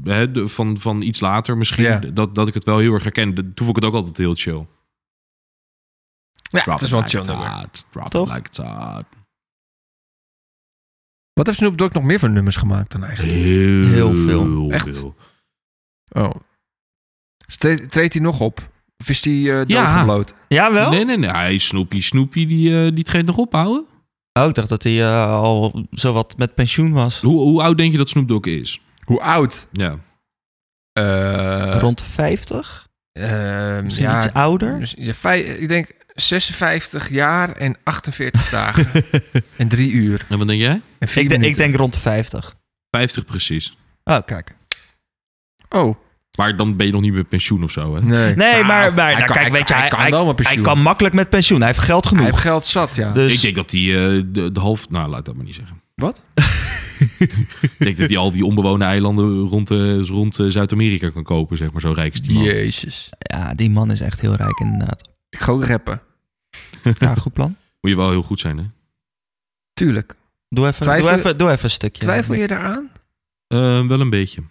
Speaker 1: hè, de- van, van iets later misschien.
Speaker 2: Ja.
Speaker 1: Dat, dat ik het wel heel erg herkende. Toen vond ik het ook altijd heel chill.
Speaker 2: Ja,
Speaker 1: Drop
Speaker 2: het is
Speaker 1: it
Speaker 2: wel
Speaker 1: like
Speaker 2: chill
Speaker 1: it's
Speaker 2: nummer.
Speaker 1: hot. Drop it
Speaker 3: Toch?
Speaker 1: like it's hot.
Speaker 2: Wat heeft Snoop Dogg nog meer voor nummers gemaakt dan eigenlijk?
Speaker 1: Heel,
Speaker 3: Heel veel.
Speaker 2: Echt? Oh. Dus tre- Treedt hij nog op? Of is hij eh
Speaker 1: Ja.
Speaker 2: doodgebloot?
Speaker 3: Jawel?
Speaker 1: Nee, nee, nee. Hij, Snoopy, Snoopy, die, eh, die treedt nog ophouden.
Speaker 3: Oh, ik dacht dat hij eh, al zowat met pensioen was.
Speaker 1: Hoe, hoe oud denk je dat Snoop Dogg is?
Speaker 2: Hoe oud?
Speaker 1: Ja.
Speaker 2: Eh,
Speaker 3: Rond 50?
Speaker 2: ehm,
Speaker 3: Misschien
Speaker 2: ja,
Speaker 3: iets ouder?
Speaker 2: dus je vij- ik denk 56 jaar en 48 dagen. en 3 uur.
Speaker 1: En wat denk jij?
Speaker 2: En 4
Speaker 3: Ik, denk- ik
Speaker 2: minuten.
Speaker 3: denk rond de 50.
Speaker 1: 50 precies.
Speaker 3: Oh, kijk.
Speaker 2: Oh,
Speaker 1: Maar dan ben je nog niet met pensioen of zo, hè?
Speaker 2: nee.
Speaker 3: Nee, maar, maar
Speaker 2: hij
Speaker 3: nou,
Speaker 2: kan-
Speaker 3: kijk,
Speaker 2: hij-
Speaker 3: weet je,
Speaker 2: hij
Speaker 3: hij,
Speaker 2: kan
Speaker 3: hij-
Speaker 2: wel met pensioen.
Speaker 3: hij kan makkelijk met pensioen. Hij heeft geld
Speaker 2: Hij
Speaker 3: genoeg.
Speaker 2: heeft geld zat, ja.
Speaker 3: Dus
Speaker 1: Ik denk dat hij eh, de, de half... Nou, laat dat maar niet zeggen.
Speaker 2: Wat?
Speaker 1: Ik denk dat hij al die onbewoonde eilanden rond, eh, rond eh, Zuid-Amerika kan kopen, zeg maar. Zo rijk is die man.
Speaker 2: Jezus.
Speaker 3: Ja, die man is echt heel rijk inderdaad.
Speaker 2: Ik ga ook rappen.
Speaker 3: Ja, goed plan.
Speaker 1: Moet je wel heel goed zijn, hè?
Speaker 2: Tuurlijk.
Speaker 3: Doe even,
Speaker 2: Twijfel-
Speaker 3: doe even, doe even een stukje.
Speaker 2: Twijfel je daaraan?
Speaker 1: Eh, wel een beetje.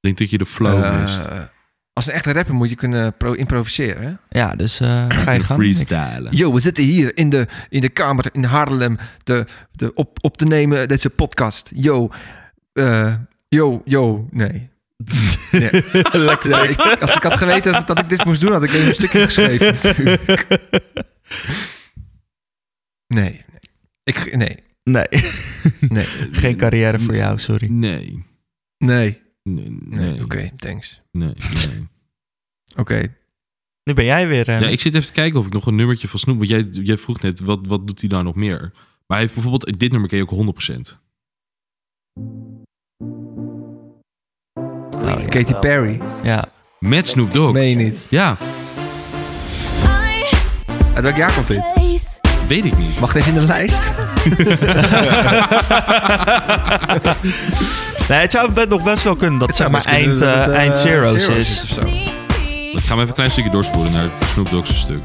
Speaker 1: Ik denk dat je de flow
Speaker 2: Eh,
Speaker 1: mist.
Speaker 2: als een echte rapper moet je kunnen pro- improviseren, hè?
Speaker 3: Ja, dus eh, ga je
Speaker 1: De
Speaker 3: gang.
Speaker 1: freestylen.
Speaker 2: Yo, we zitten hier in de, in de kamer in Haarlem de, de op, op te nemen deze podcast. Yo, eh, yo, yo, nee. nee. Nee, ik- als ik had geweten dat, dat ik dit moest doen, had ik even een stukje geschreven. natuurlijk. Nee, nee. Ik, nee,
Speaker 3: Nee,
Speaker 2: nee,
Speaker 3: geen carrière voor jou, sorry.
Speaker 1: Nee.
Speaker 2: nee.
Speaker 1: Nee,
Speaker 2: nee.
Speaker 1: nee,
Speaker 2: Oké, thanks.
Speaker 1: nee, nee.
Speaker 2: Oké.
Speaker 3: Nu ben jij weer... eh,
Speaker 1: Ja, ik zit even te kijken of ik nog een nummertje van Snoep... Want jij, jij vroeg net, wat, wat doet hij nou nog meer? Maar hij heeft bijvoorbeeld... Dit nummer ken je ook 100%.
Speaker 3: nou, ja.
Speaker 2: Katy Perry.
Speaker 3: Ja.
Speaker 1: Met Snoop Dogg.
Speaker 2: Meen je niet.
Speaker 1: Ja,
Speaker 2: Uit welk jaar komt dit?
Speaker 1: weet ik niet.
Speaker 2: Mag dit in de lijst?
Speaker 3: Nee, het zou be- nog best wel kunnen dat het zeg
Speaker 2: zou
Speaker 3: maar
Speaker 2: best kunnen
Speaker 3: eind,
Speaker 2: dat
Speaker 3: eh,
Speaker 2: het, eh,
Speaker 3: eind zeros,
Speaker 2: zeros
Speaker 3: is.
Speaker 2: is of zo.
Speaker 1: Ik ga hem even een klein stukje doorspoelen naar het Snoop Dogg's stuk.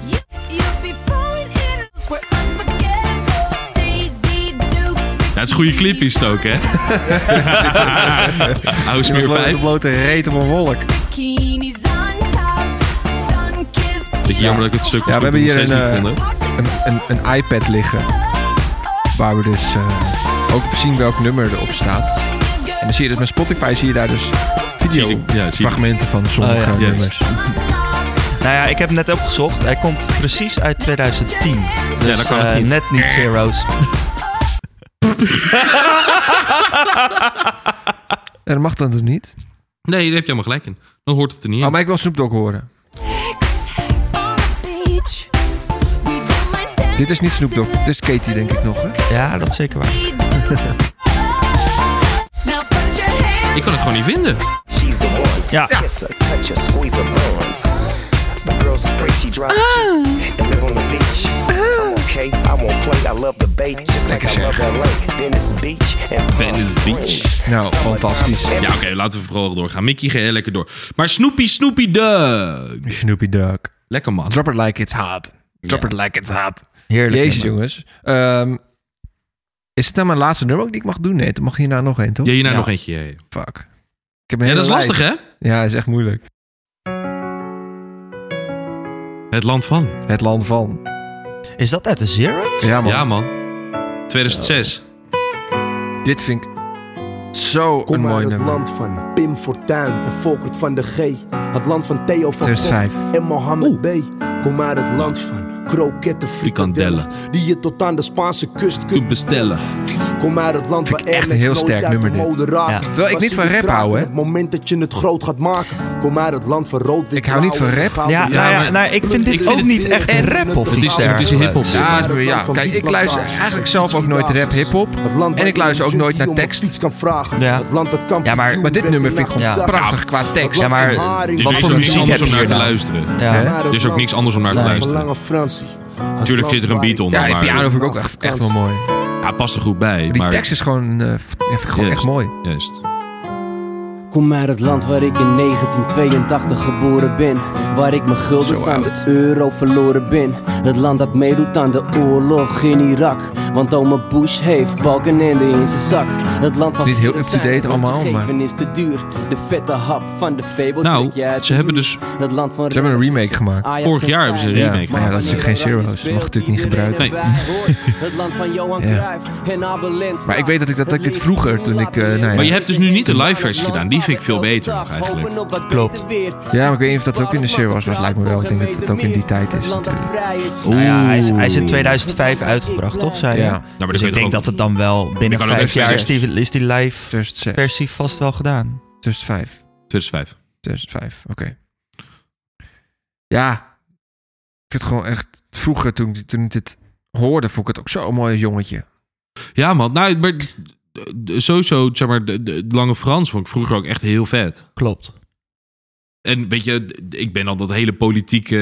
Speaker 1: Ja, het is een goede clip is het ook, hè? Hou
Speaker 2: De blote, de
Speaker 1: smeerpijp.
Speaker 2: blote reet op een wolk.
Speaker 1: Beetje jammer dat ik het stuk van
Speaker 2: Ja, we
Speaker 1: Snoop
Speaker 2: hebben
Speaker 1: Dogg nog
Speaker 2: hier
Speaker 1: steeds
Speaker 2: een,
Speaker 1: niet vond, hè?
Speaker 2: Een, een, een iPad liggen. Waar we dus eh, ook zien welk nummer erop staat. En dan zie je dus met Spotify zie je daar dus
Speaker 1: Zie
Speaker 2: video
Speaker 1: ik- ja, zie ik.
Speaker 2: fragmenten van sommige
Speaker 1: Oh, ja.
Speaker 2: nummers.
Speaker 3: Nou ja, ik heb hem net opgezocht. Hij komt precies uit 2010. Dus,
Speaker 1: dan kan het
Speaker 3: eh,
Speaker 1: niet.
Speaker 3: net niet zeros.
Speaker 2: En dat mag dan toch niet?
Speaker 1: Nee, daar heb je helemaal gelijk in. Dan hoort het er niet
Speaker 2: Oh,
Speaker 1: in.
Speaker 2: maar ik wil Snoop Dogg horen. Dit is niet Snoop Dogg, dit is Katie denk ik nog. Hè?
Speaker 3: Ja, dat is zeker waar.
Speaker 1: Ik kan het gewoon niet vinden.
Speaker 3: Ja,
Speaker 8: okay? I won't play, I love the bait. Just like I love LA. Venice Beach and Palm
Speaker 1: Venice Beach.
Speaker 8: Springs.
Speaker 2: Nou, fantastisch.
Speaker 1: Ja, oké, laten we vooral doorgaan. Mickey, ga heel lekker door. Maar Snoopy, Snoopy Dug.
Speaker 2: Snoopy Dog.
Speaker 1: Lekker man.
Speaker 2: Drop it like it's hot. Drop
Speaker 3: Ja.
Speaker 2: it like it's hot.
Speaker 3: Heerlijk.
Speaker 2: Jezus
Speaker 3: nummer.
Speaker 2: jongens. Ehm, is het nou mijn laatste nummer ook die ik mag doen? Nee, dan mag hierna nog één, toch?
Speaker 1: Ja, hierna
Speaker 3: Ja.
Speaker 1: nog eentje. eh, Ja, ja.
Speaker 2: Fuck. Ik heb een
Speaker 1: Ja, dat is
Speaker 2: hele
Speaker 1: lastig
Speaker 2: lijst.
Speaker 1: hè?
Speaker 2: Ja, dat is echt moeilijk.
Speaker 1: Het land van.
Speaker 2: Het land van.
Speaker 3: Is dat uit de Zero?
Speaker 2: Ja man,
Speaker 1: Ja man. 2006.
Speaker 2: dit vind ik zo
Speaker 9: Kom
Speaker 2: een
Speaker 9: uit
Speaker 2: mooi
Speaker 9: het
Speaker 2: nummer.
Speaker 9: land van Pim Fortuyn en Volkert van de G. Het land van Theo van Gogh
Speaker 2: 2005.
Speaker 9: en Mohammed B. Kom uit het land van kroketten, frikandellen. Die je tot aan de Spaanse kust kunt
Speaker 1: Kunt bestellen.
Speaker 9: Kom uit het land waar
Speaker 2: Vind ik echt
Speaker 9: Airlines
Speaker 2: een heel
Speaker 9: nooit
Speaker 2: sterk
Speaker 9: uit de
Speaker 2: nummer dit.
Speaker 9: mode raken.
Speaker 3: Ja.
Speaker 2: Terwijl ik
Speaker 9: Was
Speaker 2: niet
Speaker 9: in
Speaker 2: van
Speaker 9: die
Speaker 2: rap
Speaker 9: kraak
Speaker 2: hou, hè?
Speaker 9: op Het moment dat je het groot gaat maken. Kom uit het land van rood, wit,
Speaker 2: Ik hou niet
Speaker 9: blauw
Speaker 2: van
Speaker 9: en
Speaker 2: rap.
Speaker 9: goud.
Speaker 3: Ja, nou ja,
Speaker 1: maar-
Speaker 3: nou, ik vind dit
Speaker 1: Ik vind
Speaker 3: ook
Speaker 1: het-
Speaker 3: niet echt een rap of
Speaker 1: Het is,
Speaker 3: iets
Speaker 1: het is
Speaker 3: dergelijks.
Speaker 1: hip-hop. dit.
Speaker 2: Ja, dat is- ja, kijk, ik luister eigenlijk zelf ook nooit rap, hip-hop.
Speaker 9: Het land waar
Speaker 2: En ik luister ook
Speaker 9: iedereen
Speaker 2: nooit naar
Speaker 9: om een
Speaker 2: tekst.
Speaker 9: fiets kan vragen.
Speaker 3: Ja.
Speaker 9: Het land dat kan
Speaker 3: Ja, maar-
Speaker 2: Maar dit nummer vind ik gewoon
Speaker 3: Ja.
Speaker 2: prachtig qua tekst.
Speaker 3: Ja, maar
Speaker 1: Er
Speaker 3: wat
Speaker 1: is
Speaker 3: voor
Speaker 1: ook niks
Speaker 3: muziek
Speaker 1: anders
Speaker 3: heb
Speaker 1: om
Speaker 3: je
Speaker 1: naar te
Speaker 3: hier dan?
Speaker 1: luisteren.
Speaker 3: Ja.
Speaker 1: Er is ook niks anders om naar te
Speaker 3: Nee.
Speaker 1: luisteren.
Speaker 9: Lange Fransie.
Speaker 1: Natuurlijk zit er een beat onder,
Speaker 2: Ja, die
Speaker 1: maar
Speaker 2: piano vind ik ook echt, echt wel mooi.
Speaker 1: ja, past er goed bij.
Speaker 2: Die
Speaker 1: maar,
Speaker 2: tekst is gewoon, eh, vind ik gewoon
Speaker 1: Juist.
Speaker 2: echt mooi.
Speaker 1: Juist.
Speaker 5: Kom uit het land waar ik in 1982 geboren ben. Waar ik mijn guldens
Speaker 2: Zo
Speaker 5: aan de
Speaker 2: oud.
Speaker 5: euro verloren ben. Het land dat meedoet aan de oorlog in Irak. Want oma Bush heeft balkenende in zijn zak. Het land van
Speaker 2: Niet heel
Speaker 5: vrienden zijn,
Speaker 2: up-to-date
Speaker 5: want
Speaker 2: allemaal,
Speaker 5: te
Speaker 2: maar-
Speaker 5: geven is te duur. De vette hap van de fabel
Speaker 1: Nou,
Speaker 5: trek je uit
Speaker 1: ze
Speaker 5: de
Speaker 1: hebben
Speaker 5: muur.
Speaker 1: dus-
Speaker 5: Dat land van
Speaker 2: Ze hebben een remake gemaakt.
Speaker 5: Ajax
Speaker 1: Ah, Vorig
Speaker 5: en
Speaker 1: jaar hebben ze een
Speaker 5: Feyenoord.
Speaker 1: remake,
Speaker 2: maar Ah, ja, dat is natuurlijk geen
Speaker 5: wanneer
Speaker 2: zero's. Dat mag
Speaker 5: speelt
Speaker 2: natuurlijk niet
Speaker 5: iedereen
Speaker 2: gebruiken.
Speaker 5: erbij. Hoort Het land van Johan
Speaker 2: Ja.
Speaker 5: Cruijff en Abel Lenstra.
Speaker 2: Maar ik weet dat ik- dat ik dit vroeger, toen ik, eh, nou ja.
Speaker 5: Maar je hebt dus nu niet de live versie gedaan. Die vind ik veel beter nog eigenlijk.
Speaker 3: Klopt.
Speaker 2: Ja, maar ik weet niet of dat ook in de serie was, maar het lijkt me wel. Ik denk dat het ook in die tijd is natuurlijk.
Speaker 3: Nou ja, hij, is,
Speaker 1: Oeh.
Speaker 3: hij is in 2005 uitgebracht, toch? Zei je?
Speaker 2: Ja. Nou,
Speaker 1: maar dan
Speaker 3: dus
Speaker 1: kun je
Speaker 3: ik
Speaker 1: toch ook-
Speaker 3: denk dat het dan wel binnen
Speaker 1: kan ook
Speaker 3: vijf
Speaker 1: even
Speaker 3: jaar is
Speaker 1: zeggen.
Speaker 3: die, is die live
Speaker 2: 2006,
Speaker 3: versie vast wel gedaan.
Speaker 2: 2005,
Speaker 1: 2005.
Speaker 2: 2005, oké. Ja, ik vind het gewoon echt... Vroeger, toen, ik- toen ik dit hoorde, vond ik het ook zo'n mooi jongetje.
Speaker 1: Ja, man. Nou, maar d- d- sowieso, zeg maar, de, de- de Lange Frans vond ik vroeger ook echt heel vet.
Speaker 3: Klopt.
Speaker 1: En weet je, d- ik ben al dat hele politieke,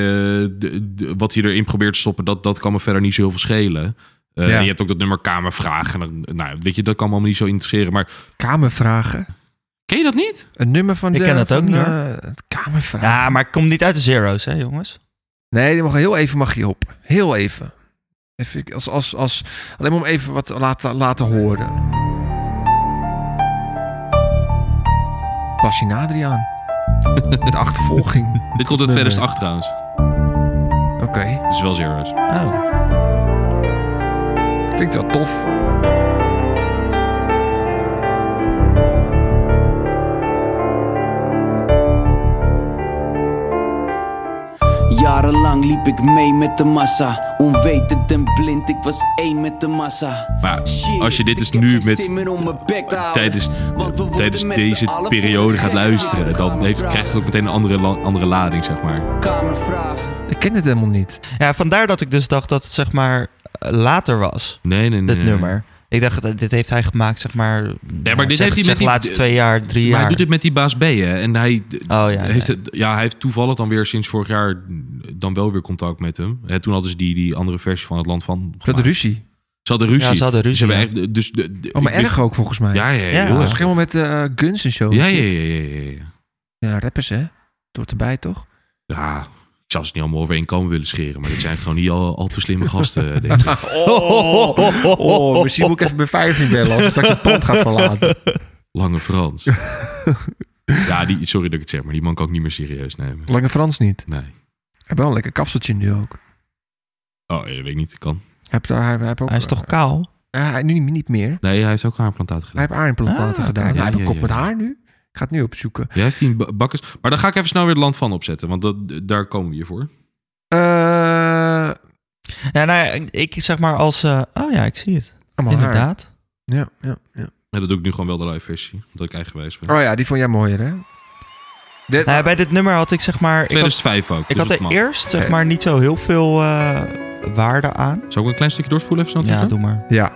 Speaker 1: eh, d- d- wat hij erin probeert te stoppen, dat, dat kan me verder niet zo heel veel schelen. Eh,
Speaker 2: Ja.
Speaker 1: Je hebt ook dat nummer Kamervragen. En dan- Nou, weet je, dat kan me allemaal niet zo interesseren. Maar
Speaker 2: Kamervragen.
Speaker 1: ken je dat niet?
Speaker 2: Een nummer van
Speaker 3: Ik
Speaker 2: de...
Speaker 3: ken dat ook
Speaker 2: van,
Speaker 3: niet, hoor.
Speaker 2: eh, Kamervragen.
Speaker 3: Ja, maar ik kom niet uit de zero's, hè, jongens?
Speaker 2: Nee, die mag heel even mag je op. Heel even. even ik- als, als, als, alleen maar om even wat te laten, laten horen. Bassi Adriaan. De achtervolging.
Speaker 1: Dit komt uit
Speaker 2: Nee,
Speaker 1: 2008 trouwens.
Speaker 2: Oké.
Speaker 1: Dat is wel zero's.
Speaker 3: Oh.
Speaker 2: Klinkt wel tof.
Speaker 5: Jarenlang liep ik mee met de massa. Onwetend en blind, ik was één met de massa.
Speaker 1: Maar
Speaker 5: Shit,
Speaker 1: als je dit dus
Speaker 5: ik heb
Speaker 1: nu
Speaker 5: geen
Speaker 1: met-
Speaker 5: zin meer om mijn bek te houden.
Speaker 1: tijdens,
Speaker 5: Want we worden
Speaker 1: tijdens
Speaker 5: met z'n
Speaker 1: deze
Speaker 5: allen voor
Speaker 1: periode
Speaker 5: de
Speaker 1: gaat
Speaker 5: gek
Speaker 1: luisteren,
Speaker 5: gehouden.
Speaker 1: dan heeft, krijgt het ook meteen een andere, la- andere lading, zeg maar.
Speaker 5: Kamervragen.
Speaker 2: Ik ken het helemaal niet.
Speaker 3: Ja, vandaar dat ik dus dacht dat het zeg maar eh, later was,
Speaker 1: Nee, nee, nee.
Speaker 3: dit
Speaker 1: nee.
Speaker 3: nummer. Ik dacht, eh, dit heeft hij gemaakt, zeg maar... Ja,
Speaker 1: dit heeft hij met
Speaker 3: de
Speaker 1: die-
Speaker 3: laatste twee jaar, drie
Speaker 1: Maar
Speaker 3: jaar.
Speaker 1: hij doet dit met die baas B, hè? En hij, d-
Speaker 3: Oh ja,
Speaker 1: heeft
Speaker 3: nee.
Speaker 1: het, ja, hij heeft toevallig dan weer sinds vorig jaar dan wel weer contact met hem. Hè, toen hadden ze die, die andere versie van het land van.
Speaker 2: Dat
Speaker 1: gemaakt.
Speaker 2: ruzie.
Speaker 1: Ze hadden ruzie.
Speaker 3: Ja, ze hadden ruzie,
Speaker 1: Ze
Speaker 3: ja.
Speaker 1: hebben echt, dus, de- de-
Speaker 2: Oh, maar
Speaker 1: ik-
Speaker 2: erg ook volgens mij.
Speaker 1: Ja, ja, ja.
Speaker 3: Ja.
Speaker 1: heel
Speaker 2: Dat was
Speaker 1: erg.
Speaker 2: helemaal met eh, guns en zo.
Speaker 1: Ja, ja, ja, ja, ja, ja.
Speaker 2: Ja, rappers hè. Doort erbij toch?
Speaker 1: Ja, Ik zou ze niet allemaal over één kam willen scheren, maar dit zijn gewoon niet al, al te slimme gasten, eh, denk ik.
Speaker 2: Oh, misschien moet ik even beveiliging bellen als ik straks het pand gaat verlaten.
Speaker 1: Lange Frans. ja, die, sorry dat ik het zeg, maar die man kan ik niet meer serieus nemen.
Speaker 2: Lange Frans niet.
Speaker 1: Nee.
Speaker 2: Hij heeft wel een lekker kapseltje nu ook.
Speaker 1: Oh, ja, dat weet ik niet. Dat kan.
Speaker 2: Hij heeft, daar- hij heeft ook, eh,
Speaker 3: Hij is toch kaal?
Speaker 2: Ja, hij- nu niet- niet meer.
Speaker 1: Nee, hij heeft ook haarplantaat
Speaker 2: Hij
Speaker 1: gedaan.
Speaker 2: heeft haarimplantaten
Speaker 3: Ah,
Speaker 2: gedaan.
Speaker 3: oké.
Speaker 2: Ja,
Speaker 1: Ja,
Speaker 2: hij heeft een
Speaker 1: ja,
Speaker 2: kop
Speaker 1: ja.
Speaker 2: met haar nu. Ik ga het nu opzoeken.
Speaker 1: Jij heeft die ba- bakkers. Maar dan ga ik even snel weer het land van opzetten, want dat, daar komen we hier voor.
Speaker 2: Eh,
Speaker 3: Ja, nou ja, ik zeg maar als... eh, oh ja, ik zie het.
Speaker 2: allemaal haar.
Speaker 3: Inderdaad.
Speaker 2: Ja, ja, ja.
Speaker 1: En dat doe ik nu gewoon wel de live versie, omdat ik eigenwijs ben.
Speaker 2: Oh ja, die vond jij mooier, hè? Dit,
Speaker 3: Nou ja, bij dit nummer had ik zeg maar... Ik had,
Speaker 1: 2005 ook.
Speaker 3: ik
Speaker 1: dus
Speaker 3: had
Speaker 1: dat
Speaker 3: er
Speaker 1: mag.
Speaker 3: eerst zeg
Speaker 2: Vet.
Speaker 3: maar niet zo heel veel eh, waarde aan.
Speaker 1: Zou ik een klein stukje doorspoelen even snel?
Speaker 3: Ja,
Speaker 1: tussendoor?
Speaker 3: doe maar.
Speaker 2: Ja.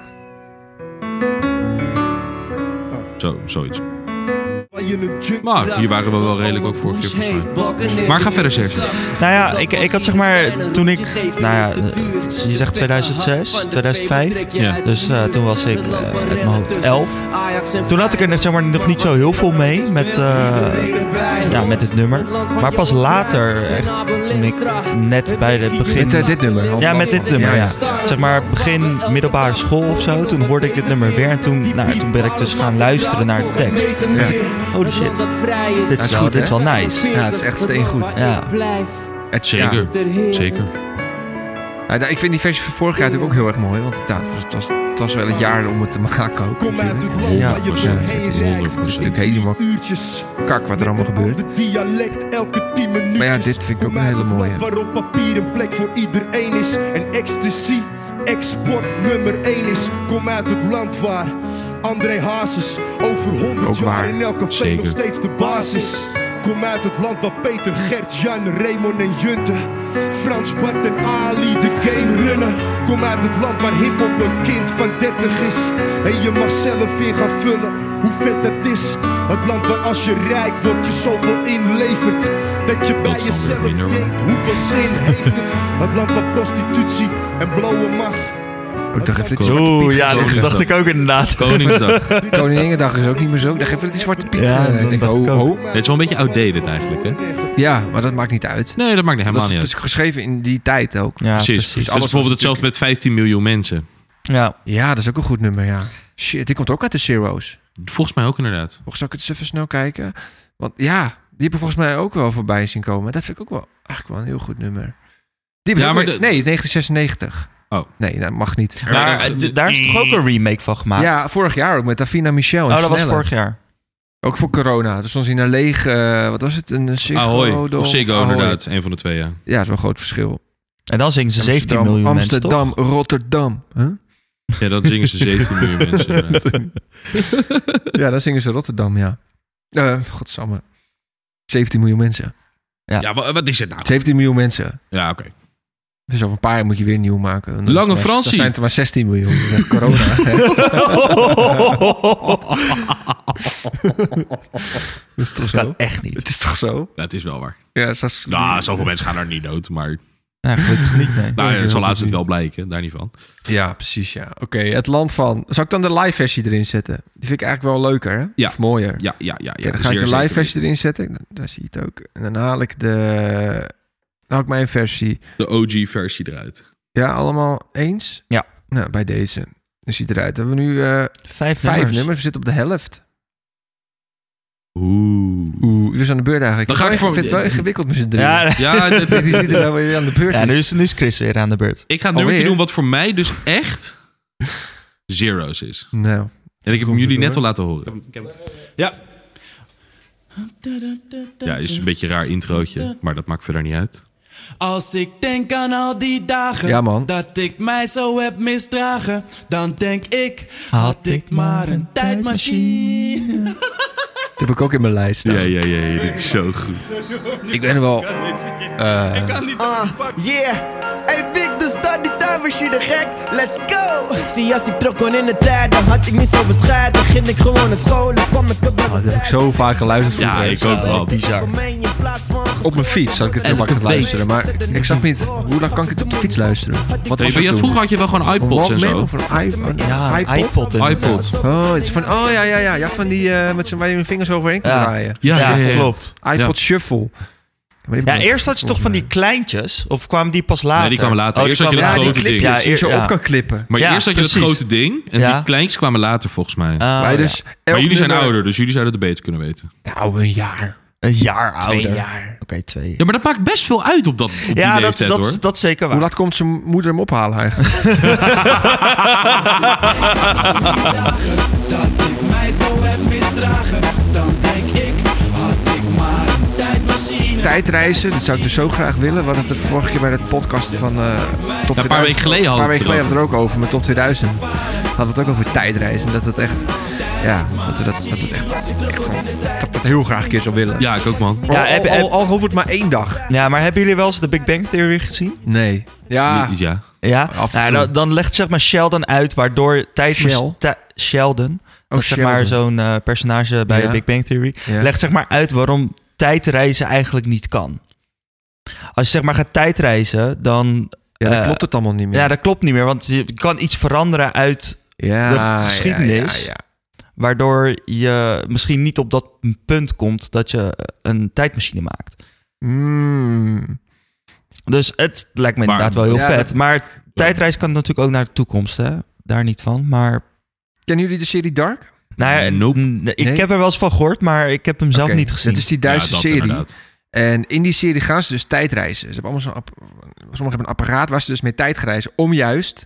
Speaker 1: Zo, zoiets.
Speaker 9: Wat
Speaker 1: Maar hier waren we wel redelijk ook voor. Maar ga verder, Serge.
Speaker 3: Nou ja, ik, ik had zeg maar toen ik, nou ja, eh, je zegt 2006, 2005.
Speaker 1: Ja.
Speaker 3: Dus eh, toen was ik eh, uit mijn hoofd 11. Toen had ik er zeg maar, nog niet zo heel veel mee met, eh, ja, met het nummer. Maar pas later, echt toen ik net bij het begin...
Speaker 2: Met eh, dit nummer. want-
Speaker 3: Ja, met dit nummer, ja.
Speaker 2: Ja.
Speaker 3: Zeg maar begin middelbare school of zo. Toen hoorde ik dit nummer weer en toen, nou, toen ben ik dus gaan luisteren naar de tekst. Holy shit. Dit is,
Speaker 2: is
Speaker 3: wel,
Speaker 2: goed,
Speaker 3: dit is
Speaker 2: hè?
Speaker 3: wel nice.
Speaker 2: Ja, het is echt steengoed.
Speaker 3: Ja.
Speaker 2: Het,
Speaker 1: Zeker.
Speaker 2: ja.
Speaker 1: Zeker.
Speaker 2: Ja, nou, ik vind die versie van vorig jaar natuurlijk ook heel erg mooi. Want ja, het, was, het, was, het was wel het jaar om het te maken ook.
Speaker 10: Kom uit
Speaker 2: natuurlijk.
Speaker 10: het land
Speaker 3: Ja,
Speaker 10: waar je
Speaker 1: procent.
Speaker 10: doorheen rijdt.
Speaker 1: 100%.
Speaker 2: Het is natuurlijk helemaal
Speaker 10: Uurtjes.
Speaker 2: kak wat er allemaal gebeurt.
Speaker 10: De dialect elke 10 minuten.
Speaker 2: Maar ja, dit vind ik ook een hele mooie.
Speaker 10: Waarop papier een plek voor iedereen is. En ecstasy, export nummer 1 is. Kom uit het land waar André Hazes over 100
Speaker 2: Ook
Speaker 10: jaar
Speaker 2: waar.
Speaker 10: in elk café
Speaker 1: Zeker.
Speaker 10: nog steeds de basis. Kom uit het land waar Peter, Gert, Jan, Raymond en Junte. Frans, Bart en Ali de game runnen. Kom uit het land waar hiphop een kind van 30 is. En je mag zelf in gaan vullen hoe vet dat is. Het land waar als je rijk wordt je zoveel inlevert. Dat je bij
Speaker 1: is dan weer
Speaker 10: jezelf
Speaker 1: minder, hoor.
Speaker 10: denkt hoeveel zin heeft het. Het land waar prostitutie en blauwe mag.
Speaker 2: Ook Oh, dacht even dat die Zwarte
Speaker 3: Oeh,
Speaker 2: Piet
Speaker 3: ja, dat dacht ik ook inderdaad.
Speaker 1: Koningsdag. Dit
Speaker 2: Koninginnedag is ook niet meer zo. Ik dacht even dat die Zwarte Piet...
Speaker 3: Ja,
Speaker 2: eh,
Speaker 3: dat
Speaker 2: denk,
Speaker 3: dacht ik
Speaker 2: ho,
Speaker 3: ook.
Speaker 2: ho.
Speaker 1: is wel een beetje outdated eigenlijk, hè?
Speaker 2: Ja, maar dat maakt niet uit.
Speaker 1: Nee, dat maakt niet- helemaal
Speaker 2: Dat is,
Speaker 1: niet uit.
Speaker 2: dat is geschreven in die tijd ook.
Speaker 3: Ja,
Speaker 1: Precies. Dus
Speaker 2: alles was
Speaker 1: bijvoorbeeld hetzelfde met 15 miljoen mensen.
Speaker 3: Ja.
Speaker 2: Ja, dat is ook een goed nummer, ja. Shit, die komt ook uit de Zero's.
Speaker 1: Volgens mij ook inderdaad.
Speaker 2: Volgens zal ik het eens even snel kijken. Want ja, die heb ik volgens mij ook wel voorbij zien komen. Dat vind ik ook wel eigenlijk wel een heel goed nummer. Die
Speaker 1: Ja,
Speaker 2: ja,
Speaker 1: maar
Speaker 2: maar
Speaker 1: de-
Speaker 2: Nee, 1996.
Speaker 1: Oh.
Speaker 2: Nee, dat mag niet.
Speaker 3: Maar eh, d- daar is toch ook een remake van gemaakt?
Speaker 2: Ja, vorig jaar ook met Davina Michel en
Speaker 3: Oh, dat was
Speaker 2: Snelle.
Speaker 3: vorig jaar.
Speaker 2: Ook voor corona. Toen stond hij naar leeg, eh, wat was het? Een Ziggo
Speaker 1: Ahoy.
Speaker 2: Dome
Speaker 1: Of Ziggo,
Speaker 2: Ahoy.
Speaker 1: inderdaad. Een van de twee, ja.
Speaker 2: Ja, dat is wel een groot verschil.
Speaker 3: En dan zingen ze 17
Speaker 2: Amsterdam,
Speaker 3: miljoen
Speaker 2: Amsterdam, Rotterdam. Huh?
Speaker 1: Ja, dan zingen ze 17 miljoen mensen. inderdaad.
Speaker 2: Ja, dan zingen ze Rotterdam, ja. Eh godsamme. 17 miljoen mensen.
Speaker 1: Ja, maar wat is het nou?
Speaker 2: 17 miljoen mensen.
Speaker 1: Ja, oké.
Speaker 2: Dus over een paar jaar moet je weer een nieuw maken. En dan
Speaker 1: Lange
Speaker 2: is het maar-
Speaker 1: Fransie.
Speaker 2: Dan zijn het er maar 16 miljoen. Met corona.
Speaker 3: toch?
Speaker 2: Dat is toch
Speaker 3: kan
Speaker 2: zo?
Speaker 3: echt niet.
Speaker 2: Het is toch zo?
Speaker 1: Dat is wel waar.
Speaker 2: Ja, het was...
Speaker 1: Nou, zoveel mensen gaan daar niet dood, maar...
Speaker 3: Ja, gelukkig niet, nee.
Speaker 1: Nou, ja, zo laat ze het wel blijken. Daar niet van.
Speaker 2: ja precies, ja. Oké, het land van... Zal ik dan de live versie erin zetten? Die vind ik eigenlijk wel leuker, hè?
Speaker 1: Ja.
Speaker 2: Of mooier.
Speaker 1: Ja, ja, ja.
Speaker 2: Oké,
Speaker 1: ja
Speaker 2: dan ga ik
Speaker 1: zeer
Speaker 2: de live
Speaker 1: zeker.
Speaker 2: versie erin zetten. Dan- Daar zie je het ook. En dan haal ik de... Dan haal ik mijn versie.
Speaker 1: De OG-versie eruit.
Speaker 2: Ja, allemaal eens?
Speaker 3: Ja.
Speaker 2: Nou, bij deze. Dan ziet eruit. Dan hebben we nu eh,
Speaker 3: Vijf,
Speaker 2: vijf
Speaker 3: nummers.
Speaker 2: nummers. We zitten op de helft.
Speaker 1: Oeh.
Speaker 2: Oeh, we zijn aan de beurt eigenlijk.
Speaker 1: Dan ga ik voor-
Speaker 2: Ik vind het wel ingewikkeld met z'n drieën.
Speaker 3: Ja, nee.
Speaker 1: Ja, dit- dit-
Speaker 2: Die zitten nou weer aan de beurt.
Speaker 3: ja
Speaker 2: is.
Speaker 3: nu, is, nu is Chris weer aan de beurt.
Speaker 1: ik ga een nummertje
Speaker 2: Alweer?
Speaker 1: doen wat voor mij dus echt... Zero's is.
Speaker 2: Nou,
Speaker 1: En ik heb hem
Speaker 2: Komt
Speaker 1: jullie
Speaker 2: het
Speaker 1: net al
Speaker 2: door?
Speaker 1: laten horen.
Speaker 11: Ja.
Speaker 1: Ja, is een beetje een raar introotje, maar dat maakt verder niet uit.
Speaker 11: Als ik denk aan al die dagen
Speaker 2: Ja, man.
Speaker 11: dat ik mij zo heb misdragen, dan denk ik, had ik maar een tijdmachine.
Speaker 2: dat heb ik ook in mijn lijst staan.
Speaker 1: Ja, ja, ja, ja, dit is zo goed.
Speaker 2: Ik ben wel...
Speaker 11: Yeah, hey Vic, dus dan die tijdmachine gek, let's go! Zie als ik trok kon in de tijd, dan had ik niet zo bescheiden, ging ik gewoon naar school, dan kwam ik op mijn
Speaker 2: Ah, dat heb ik zo vaak geluisterd voor
Speaker 1: Ja, ik ook wel.
Speaker 3: Bizar.
Speaker 2: Op mijn fiets had ik het heel
Speaker 1: Elke
Speaker 2: vaak gaan
Speaker 1: week.
Speaker 2: luisteren. Maar ik zag niet, hoe lang kan ik het op de fiets luisteren? Wat
Speaker 1: Hey,
Speaker 2: was
Speaker 1: maar je
Speaker 2: het
Speaker 1: had,
Speaker 2: toen?
Speaker 1: vroeger had je wel gewoon
Speaker 2: Een
Speaker 1: iPods en
Speaker 2: Walkman
Speaker 1: zo.
Speaker 2: Of een i- een
Speaker 3: Ja,
Speaker 2: iPod?
Speaker 3: iPod. inderdaad.
Speaker 1: iPods.
Speaker 2: Oh, het is van, oh ja, ja, ja, ja, van die eh, met z'n waar je je vingers overheen kan
Speaker 3: Ja.
Speaker 2: draaien.
Speaker 1: Ja, ja, ja, ja.
Speaker 3: klopt.
Speaker 2: iPod
Speaker 1: Ja.
Speaker 2: Shuffle. Maar die heb ik
Speaker 3: Ja,
Speaker 2: nog-
Speaker 3: eerst had je toch van die kleintjes? Of kwamen die pas later?
Speaker 1: Nee, die kwamen later.
Speaker 3: Oh,
Speaker 1: Eerst had je
Speaker 3: kwamen
Speaker 1: dat
Speaker 2: Ja,
Speaker 3: later.
Speaker 2: die
Speaker 1: grote ding.
Speaker 2: clipjes
Speaker 3: Ja,
Speaker 2: die je
Speaker 3: eer-
Speaker 2: zo
Speaker 3: ja.
Speaker 2: op kan klippen.
Speaker 1: Maar
Speaker 3: Ja,
Speaker 1: eerst had je dat
Speaker 3: precies.
Speaker 1: grote ding en
Speaker 3: Ja.
Speaker 1: die kleintjes kwamen later volgens mij.
Speaker 3: Ah,
Speaker 2: maar,
Speaker 3: ja.
Speaker 2: dus elk
Speaker 1: maar jullie zijn
Speaker 2: nummer-
Speaker 1: ouder, dus jullie zouden het beter kunnen weten.
Speaker 2: Nou, een jaar.
Speaker 3: Een jaar ouder.
Speaker 2: Twee jaar.
Speaker 3: Oké, twee.
Speaker 1: Ja, maar dat maakt best veel uit op, dat, op die
Speaker 3: Ja, dat,
Speaker 1: leeftijd,
Speaker 3: dat,
Speaker 1: hoor.
Speaker 3: is- dat is zeker waar.
Speaker 2: Hoe laat komt zijn moeder hem ophalen eigenlijk?
Speaker 11: Dat ik mij zo heb misdragen, dan denk ik, had ik maar een tijdmachine.
Speaker 2: Tijdreizen, dat zou ik dus zo graag willen. We hadden het er vorige keer bij dat podcast van eh Top 2000.
Speaker 1: Nou, een paar weken geleden
Speaker 2: Een
Speaker 1: hadden
Speaker 2: paar
Speaker 1: we het
Speaker 2: weken geleden hadden we
Speaker 1: erover.
Speaker 2: het er ook over, met Top 2000. Hadden we het ook over tijdreizen. Dat het echt... Ja, dat we dat, dat, het echt, echt gewoon- dat ik dat heel graag een keer zou willen.
Speaker 1: Ja, ik ook, man.
Speaker 2: Al,
Speaker 3: Ja, heb-
Speaker 2: al,
Speaker 3: heb-
Speaker 2: al, al hoeft het maar één dag.
Speaker 3: Ja, maar hebben jullie wel eens de Big Bang Theory gezien?
Speaker 2: Nee. Ja,
Speaker 1: Ja.
Speaker 3: Ja.
Speaker 2: Af en
Speaker 3: nou,
Speaker 2: toe.
Speaker 3: dan, dan legt zeg maar Sheldon uit waardoor tijd...
Speaker 2: Shell.
Speaker 3: ti- Sheldon. dat is zeg maar zo'n eh, personage bij
Speaker 2: Oh, Ja.
Speaker 3: Big Bang Theory.
Speaker 2: Ja.
Speaker 3: Legt zeg maar uit waarom tijdreizen eigenlijk niet kan. Als je zeg maar gaat tijdreizen, dan...
Speaker 2: Ja, dan
Speaker 3: eh,
Speaker 2: klopt het allemaal niet meer.
Speaker 3: Ja, dat klopt niet meer. Want je kan iets veranderen uit
Speaker 2: Ja,
Speaker 3: de geschiedenis.
Speaker 2: ja, ja,
Speaker 3: Waardoor je misschien niet op dat punt komt dat je een tijdmachine maakt.
Speaker 2: Hmm.
Speaker 3: Dus het lijkt me
Speaker 2: Maar-
Speaker 3: inderdaad wel heel
Speaker 2: Ja,
Speaker 3: vet.
Speaker 2: dat-
Speaker 3: Maar tijdreis kan natuurlijk ook naar de toekomst, hè? Daar niet van. Maar
Speaker 2: Kennen jullie de serie Dark?
Speaker 3: nou ja, n- ik
Speaker 2: Nee?
Speaker 3: heb er wel eens van gehoord, maar ik heb hem zelf
Speaker 2: Oké,
Speaker 3: niet gezien.
Speaker 2: Het is die Duitse serie. En in die serie gaan ze dus tijdreizen. Ze hebben allemaal zo'n app- sommigen hebben een apparaat waar ze dus mee tijd gaan reizen om juist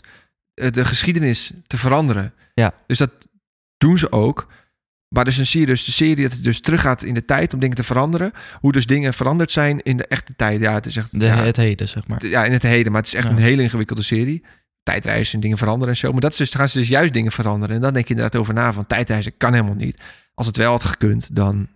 Speaker 2: eh, de geschiedenis te veranderen.
Speaker 3: Ja.
Speaker 2: Dus dat doen ze ook. Maar dus dan zie je dus de serie dat het dus teruggaat in de tijd om dingen te veranderen. Hoe dus dingen veranderd zijn in de echte tijd. Ja, het is echt
Speaker 3: De,
Speaker 2: ja,
Speaker 3: Het heden, zeg maar.
Speaker 2: eh, ja, in het heden, maar het is echt
Speaker 3: Ja.
Speaker 2: een hele ingewikkelde serie. Tijdreizen en dingen veranderen en zo. Maar dat is dus, dan gaan ze dus juist dingen veranderen. En dan denk je inderdaad over na, van tijdreizen kan helemaal niet. Als het wel had gekund, dan...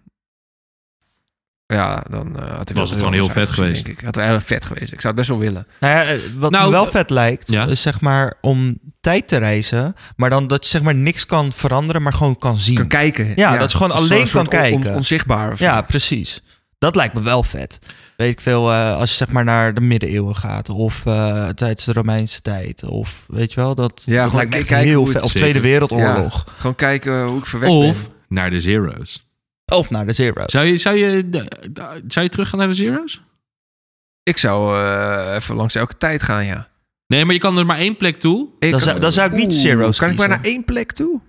Speaker 2: Ja, dan eh, had ik
Speaker 1: het gewoon heel vet geweest.
Speaker 2: Ik had het heel vet geweest. Ik zou het best wel willen.
Speaker 3: Nou ja, eh, wat
Speaker 2: Nou,
Speaker 3: me wel
Speaker 2: eh,
Speaker 3: vet lijkt,
Speaker 2: ja.
Speaker 3: is zeg maar om tijd te reizen, maar dan dat je zeg maar niks kan veranderen, maar gewoon kan zien. Kan
Speaker 2: kijken.
Speaker 3: Ja,
Speaker 2: ja.
Speaker 3: dat je gewoon
Speaker 2: Als een
Speaker 3: alleen kan
Speaker 2: soort on- on-
Speaker 3: kijken.
Speaker 2: onzichtbaar of
Speaker 3: Ja, precies. Dat lijkt me wel vet. Weet ik veel, eh, als je zeg maar naar de middeleeuwen gaat, of eh, tijdens de Romeinse tijd, of weet je wel, dat,
Speaker 2: Ja,
Speaker 3: dat
Speaker 2: gewoon
Speaker 3: lijkt me echt
Speaker 2: kijken
Speaker 3: heel
Speaker 2: hoe
Speaker 3: vet.
Speaker 2: het-
Speaker 3: Of Tweede
Speaker 2: Zeker.
Speaker 3: Wereldoorlog.
Speaker 2: Ja, gewoon kijken hoe ik verwerkt ben.
Speaker 1: Of naar de Zero's.
Speaker 3: Of naar de Zero's.
Speaker 1: Zou je, zou je, d- d- zou je teruggaan naar de Zero's?
Speaker 2: Ik zou eh, even langs elke tijd gaan, ja.
Speaker 1: Nee, maar je kan er maar één plek toe.
Speaker 2: Ik Dan kan- zou- dan zou ik niet
Speaker 1: Oeh,
Speaker 2: Zero's Kan ik maar naar één plek toe?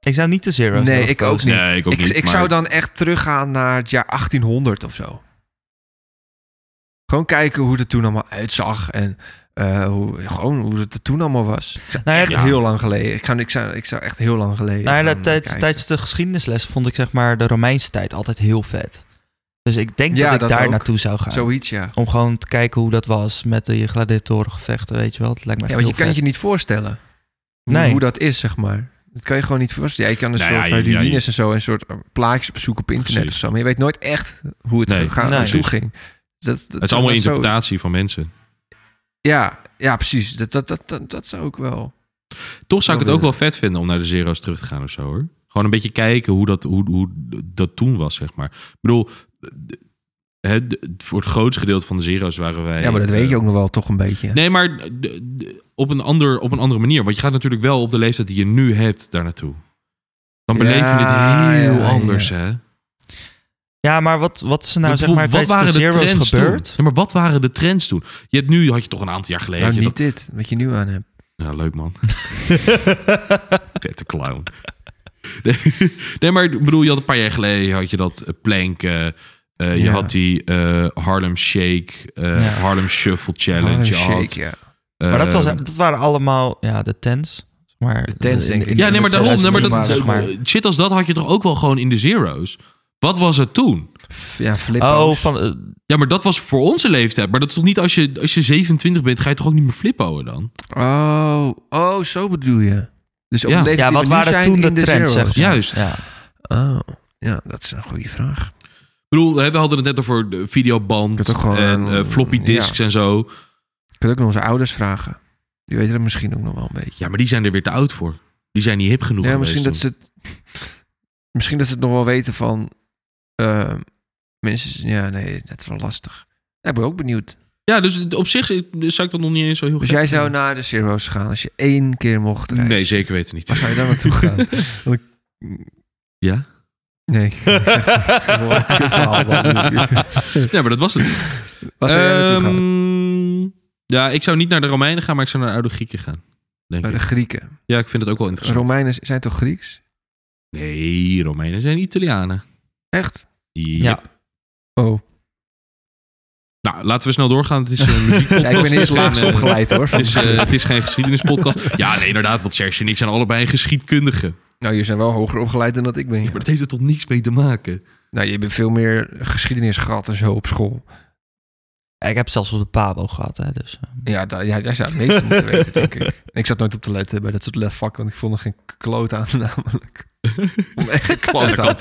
Speaker 3: Ik zou niet de Zero's
Speaker 2: Nee,
Speaker 3: hebben
Speaker 2: ik ook niet.
Speaker 3: gekozen.
Speaker 1: Nee, ik ook
Speaker 2: ik
Speaker 1: niet, maar-
Speaker 2: zou dan echt teruggaan naar het jaar 1800 of zo. Gewoon kijken hoe het er toen allemaal uitzag. En eh, hoe, gewoon hoe het er toen allemaal was. Ik zou
Speaker 3: Nou ja,
Speaker 2: echt
Speaker 3: ja.
Speaker 2: heel lang geleden. Ik, zou, ik, zou, ik zou echt heel lang geleden.
Speaker 3: Nou ja, dat
Speaker 2: gaan
Speaker 3: tijd-
Speaker 2: kijken.
Speaker 3: tijdens de geschiedenisles vond ik zeg maar de Romeinse tijd altijd heel vet. Dus ik denk
Speaker 2: Ja,
Speaker 3: dat ik
Speaker 2: dat
Speaker 3: daar
Speaker 2: ook.
Speaker 3: naartoe zou gaan.
Speaker 2: Zoiets, ja.
Speaker 3: Om gewoon te kijken hoe dat was met die gladiatorengevechten, weet je wel. Het lijkt me
Speaker 2: Ja,
Speaker 3: echt
Speaker 2: want je kan het
Speaker 3: heel vet.
Speaker 2: je niet voorstellen. Hoe,
Speaker 3: Nee.
Speaker 2: hoe dat is, zeg maar. Dat kan je gewoon niet voorstellen. Ja, je kan een
Speaker 1: Nou
Speaker 2: soort
Speaker 1: ja,
Speaker 2: bij
Speaker 1: je- ja,
Speaker 2: ruïnes
Speaker 1: je-
Speaker 2: en zo... een soort eh, plaatjes opzoeken op internet
Speaker 1: Precies.
Speaker 2: of zo. Maar je weet nooit echt hoe het
Speaker 1: Nee,
Speaker 2: gaat,
Speaker 1: nee.
Speaker 2: naartoe
Speaker 1: precies.
Speaker 2: ging. Dus Dat, dat-
Speaker 1: het is allemaal
Speaker 2: dat zo-
Speaker 1: interpretatie van mensen.
Speaker 2: Ja, ja precies. Dat, dat, dat, dat, dat zou ook wel...
Speaker 1: Toch zou ik het
Speaker 2: Wel
Speaker 1: ook wel vet vinden om naar de Zero's terug te gaan of zo hoor. Gewoon een beetje kijken hoe dat, hoe, hoe dat toen was, zeg maar. Ik bedoel, eh, d- het, voor het grootste gedeelte van de Zero's waren wij.
Speaker 2: Ja, maar dat
Speaker 1: eh,
Speaker 2: weet je ook nog wel toch een beetje.
Speaker 1: Nee, maar d- d- op een, ander, op een andere manier. Want je gaat natuurlijk wel op de leeftijd die je nu hebt daar naartoe. Dan beleef
Speaker 3: Ja,
Speaker 1: je dit heel
Speaker 3: ja,
Speaker 1: anders,
Speaker 3: ja.
Speaker 1: hè?
Speaker 3: Ja, maar wat, wat is er nou
Speaker 1: Want
Speaker 3: zeg maar
Speaker 1: bijvoorbeeld,
Speaker 3: tijdens de Zero's
Speaker 1: toen?
Speaker 3: gebeurd?
Speaker 1: Ja, maar wat waren de trends toen? Je hebt nu, had je toch een aantal jaar geleden...
Speaker 2: Nou,
Speaker 1: had je
Speaker 2: niet dit. Wat je nu aan hebt.
Speaker 1: dat- Ja, Nou, leuk man. Vette clown. Nee, nee, maar ik bedoel, je had een paar jaar geleden had je dat eh, planken. eh, je
Speaker 2: Ja.
Speaker 1: had die eh, Harlem Shake, eh,
Speaker 3: Ja.
Speaker 1: Harlem Shuffle Challenge.
Speaker 2: Harlem
Speaker 1: je had,
Speaker 2: Shake, Oh, ja.
Speaker 1: eh,
Speaker 3: maar dat, was, dat waren allemaal ja, de tents. zeg Maar de
Speaker 2: tents, denk ik.
Speaker 1: ja, nee, maar daarom. Nee, maar dat, Oh,
Speaker 2: zeg maar.
Speaker 3: Oh,
Speaker 1: Shit als dat had je toch ook wel gewoon in de zero's? Wat was het toen?
Speaker 2: Ja, flippo's.
Speaker 3: Oh, van, eh,
Speaker 1: Ja, maar dat was voor onze leeftijd. Maar dat is toch niet als je, als je 27 bent, ga je toch ook niet meer flippoen dan?
Speaker 2: Oh, oh, zo bedoel je. Dus op
Speaker 1: Ja.
Speaker 2: een leeftijd
Speaker 1: Ja, wat
Speaker 2: die we nu
Speaker 1: waren
Speaker 2: zijn
Speaker 1: toen de
Speaker 2: in
Speaker 1: trends,
Speaker 2: zero's.
Speaker 1: zeg maar? Juist.
Speaker 3: Ja.
Speaker 2: Oh, ja, dat is een goede vraag.
Speaker 1: Ik bedoel, hè, we hadden het net over de videoband
Speaker 2: ook gewoon
Speaker 1: en
Speaker 2: een-
Speaker 1: eh, floppy disks en zo.
Speaker 2: Je kunt ook nog onze ouders vragen. Die weten dat misschien ook nog wel een beetje.
Speaker 1: Ja, maar die zijn er weer te oud voor. Die zijn niet hip genoeg
Speaker 2: Ja,
Speaker 1: geweest
Speaker 2: misschien dat, ze
Speaker 1: toen.
Speaker 2: het, misschien dat ze het nog wel weten van... eh, mensen, ja, nee, dat is wel lastig. Ja, ik ben ook benieuwd.
Speaker 1: Ja, dus op zich zou ik dat nog niet eens zo heel
Speaker 2: Dus
Speaker 1: gek
Speaker 2: jij zou
Speaker 1: vinden.
Speaker 2: naar de Zero's gaan als je één keer mocht reizen.
Speaker 1: Nee, zeker weten niet.
Speaker 2: Waar zou je dan naartoe gaan? Want ik-
Speaker 1: Ja?
Speaker 2: Nee. ik- Kut verhaal, man.
Speaker 1: Ja, maar dat was het niet.
Speaker 2: Waar zou jij naartoe gaan?
Speaker 1: Ehm, Ja, ik zou niet naar de Romeinen gaan, maar ik zou naar de oude Grieken gaan. Denk
Speaker 2: Naar de
Speaker 1: ik.
Speaker 2: Grieken.
Speaker 1: Ja, ik vind het ook wel interessant.
Speaker 2: Romeinen zijn toch Grieks?
Speaker 1: Nee, Romeinen zijn Italianen.
Speaker 2: Echt?
Speaker 1: Yep.
Speaker 3: Ja.
Speaker 2: Oh.
Speaker 1: Nou, laten we snel doorgaan. Het is een muziekpodcast.
Speaker 2: Ja, ik ben
Speaker 1: Het is
Speaker 2: eerst laagst
Speaker 1: geen, eh,
Speaker 2: opgeleid, hoor.
Speaker 1: Het is, eh, het is geen geschiedenispodcast. Ja, nee, inderdaad. Want Serge en ik zijn allebei geschiedkundigen.
Speaker 2: Nou, je zijn wel hoger opgeleid dan dat ik ben. ja.
Speaker 1: Maar dat heeft er toch niks mee te maken?
Speaker 2: Nou, je hebt veel meer geschiedenis gehad en zo op school.
Speaker 3: Ja, ik heb het zelfs op de Pabo gehad, hè, dus... eh.
Speaker 2: Ja, da- ja jij zou het meeste moeten weten, denk ik. Ik zat nooit op te letten bij dat soort lefvakken, want ik vond er geen kloot aan namelijk. Ik vond er echt geen kloot aan.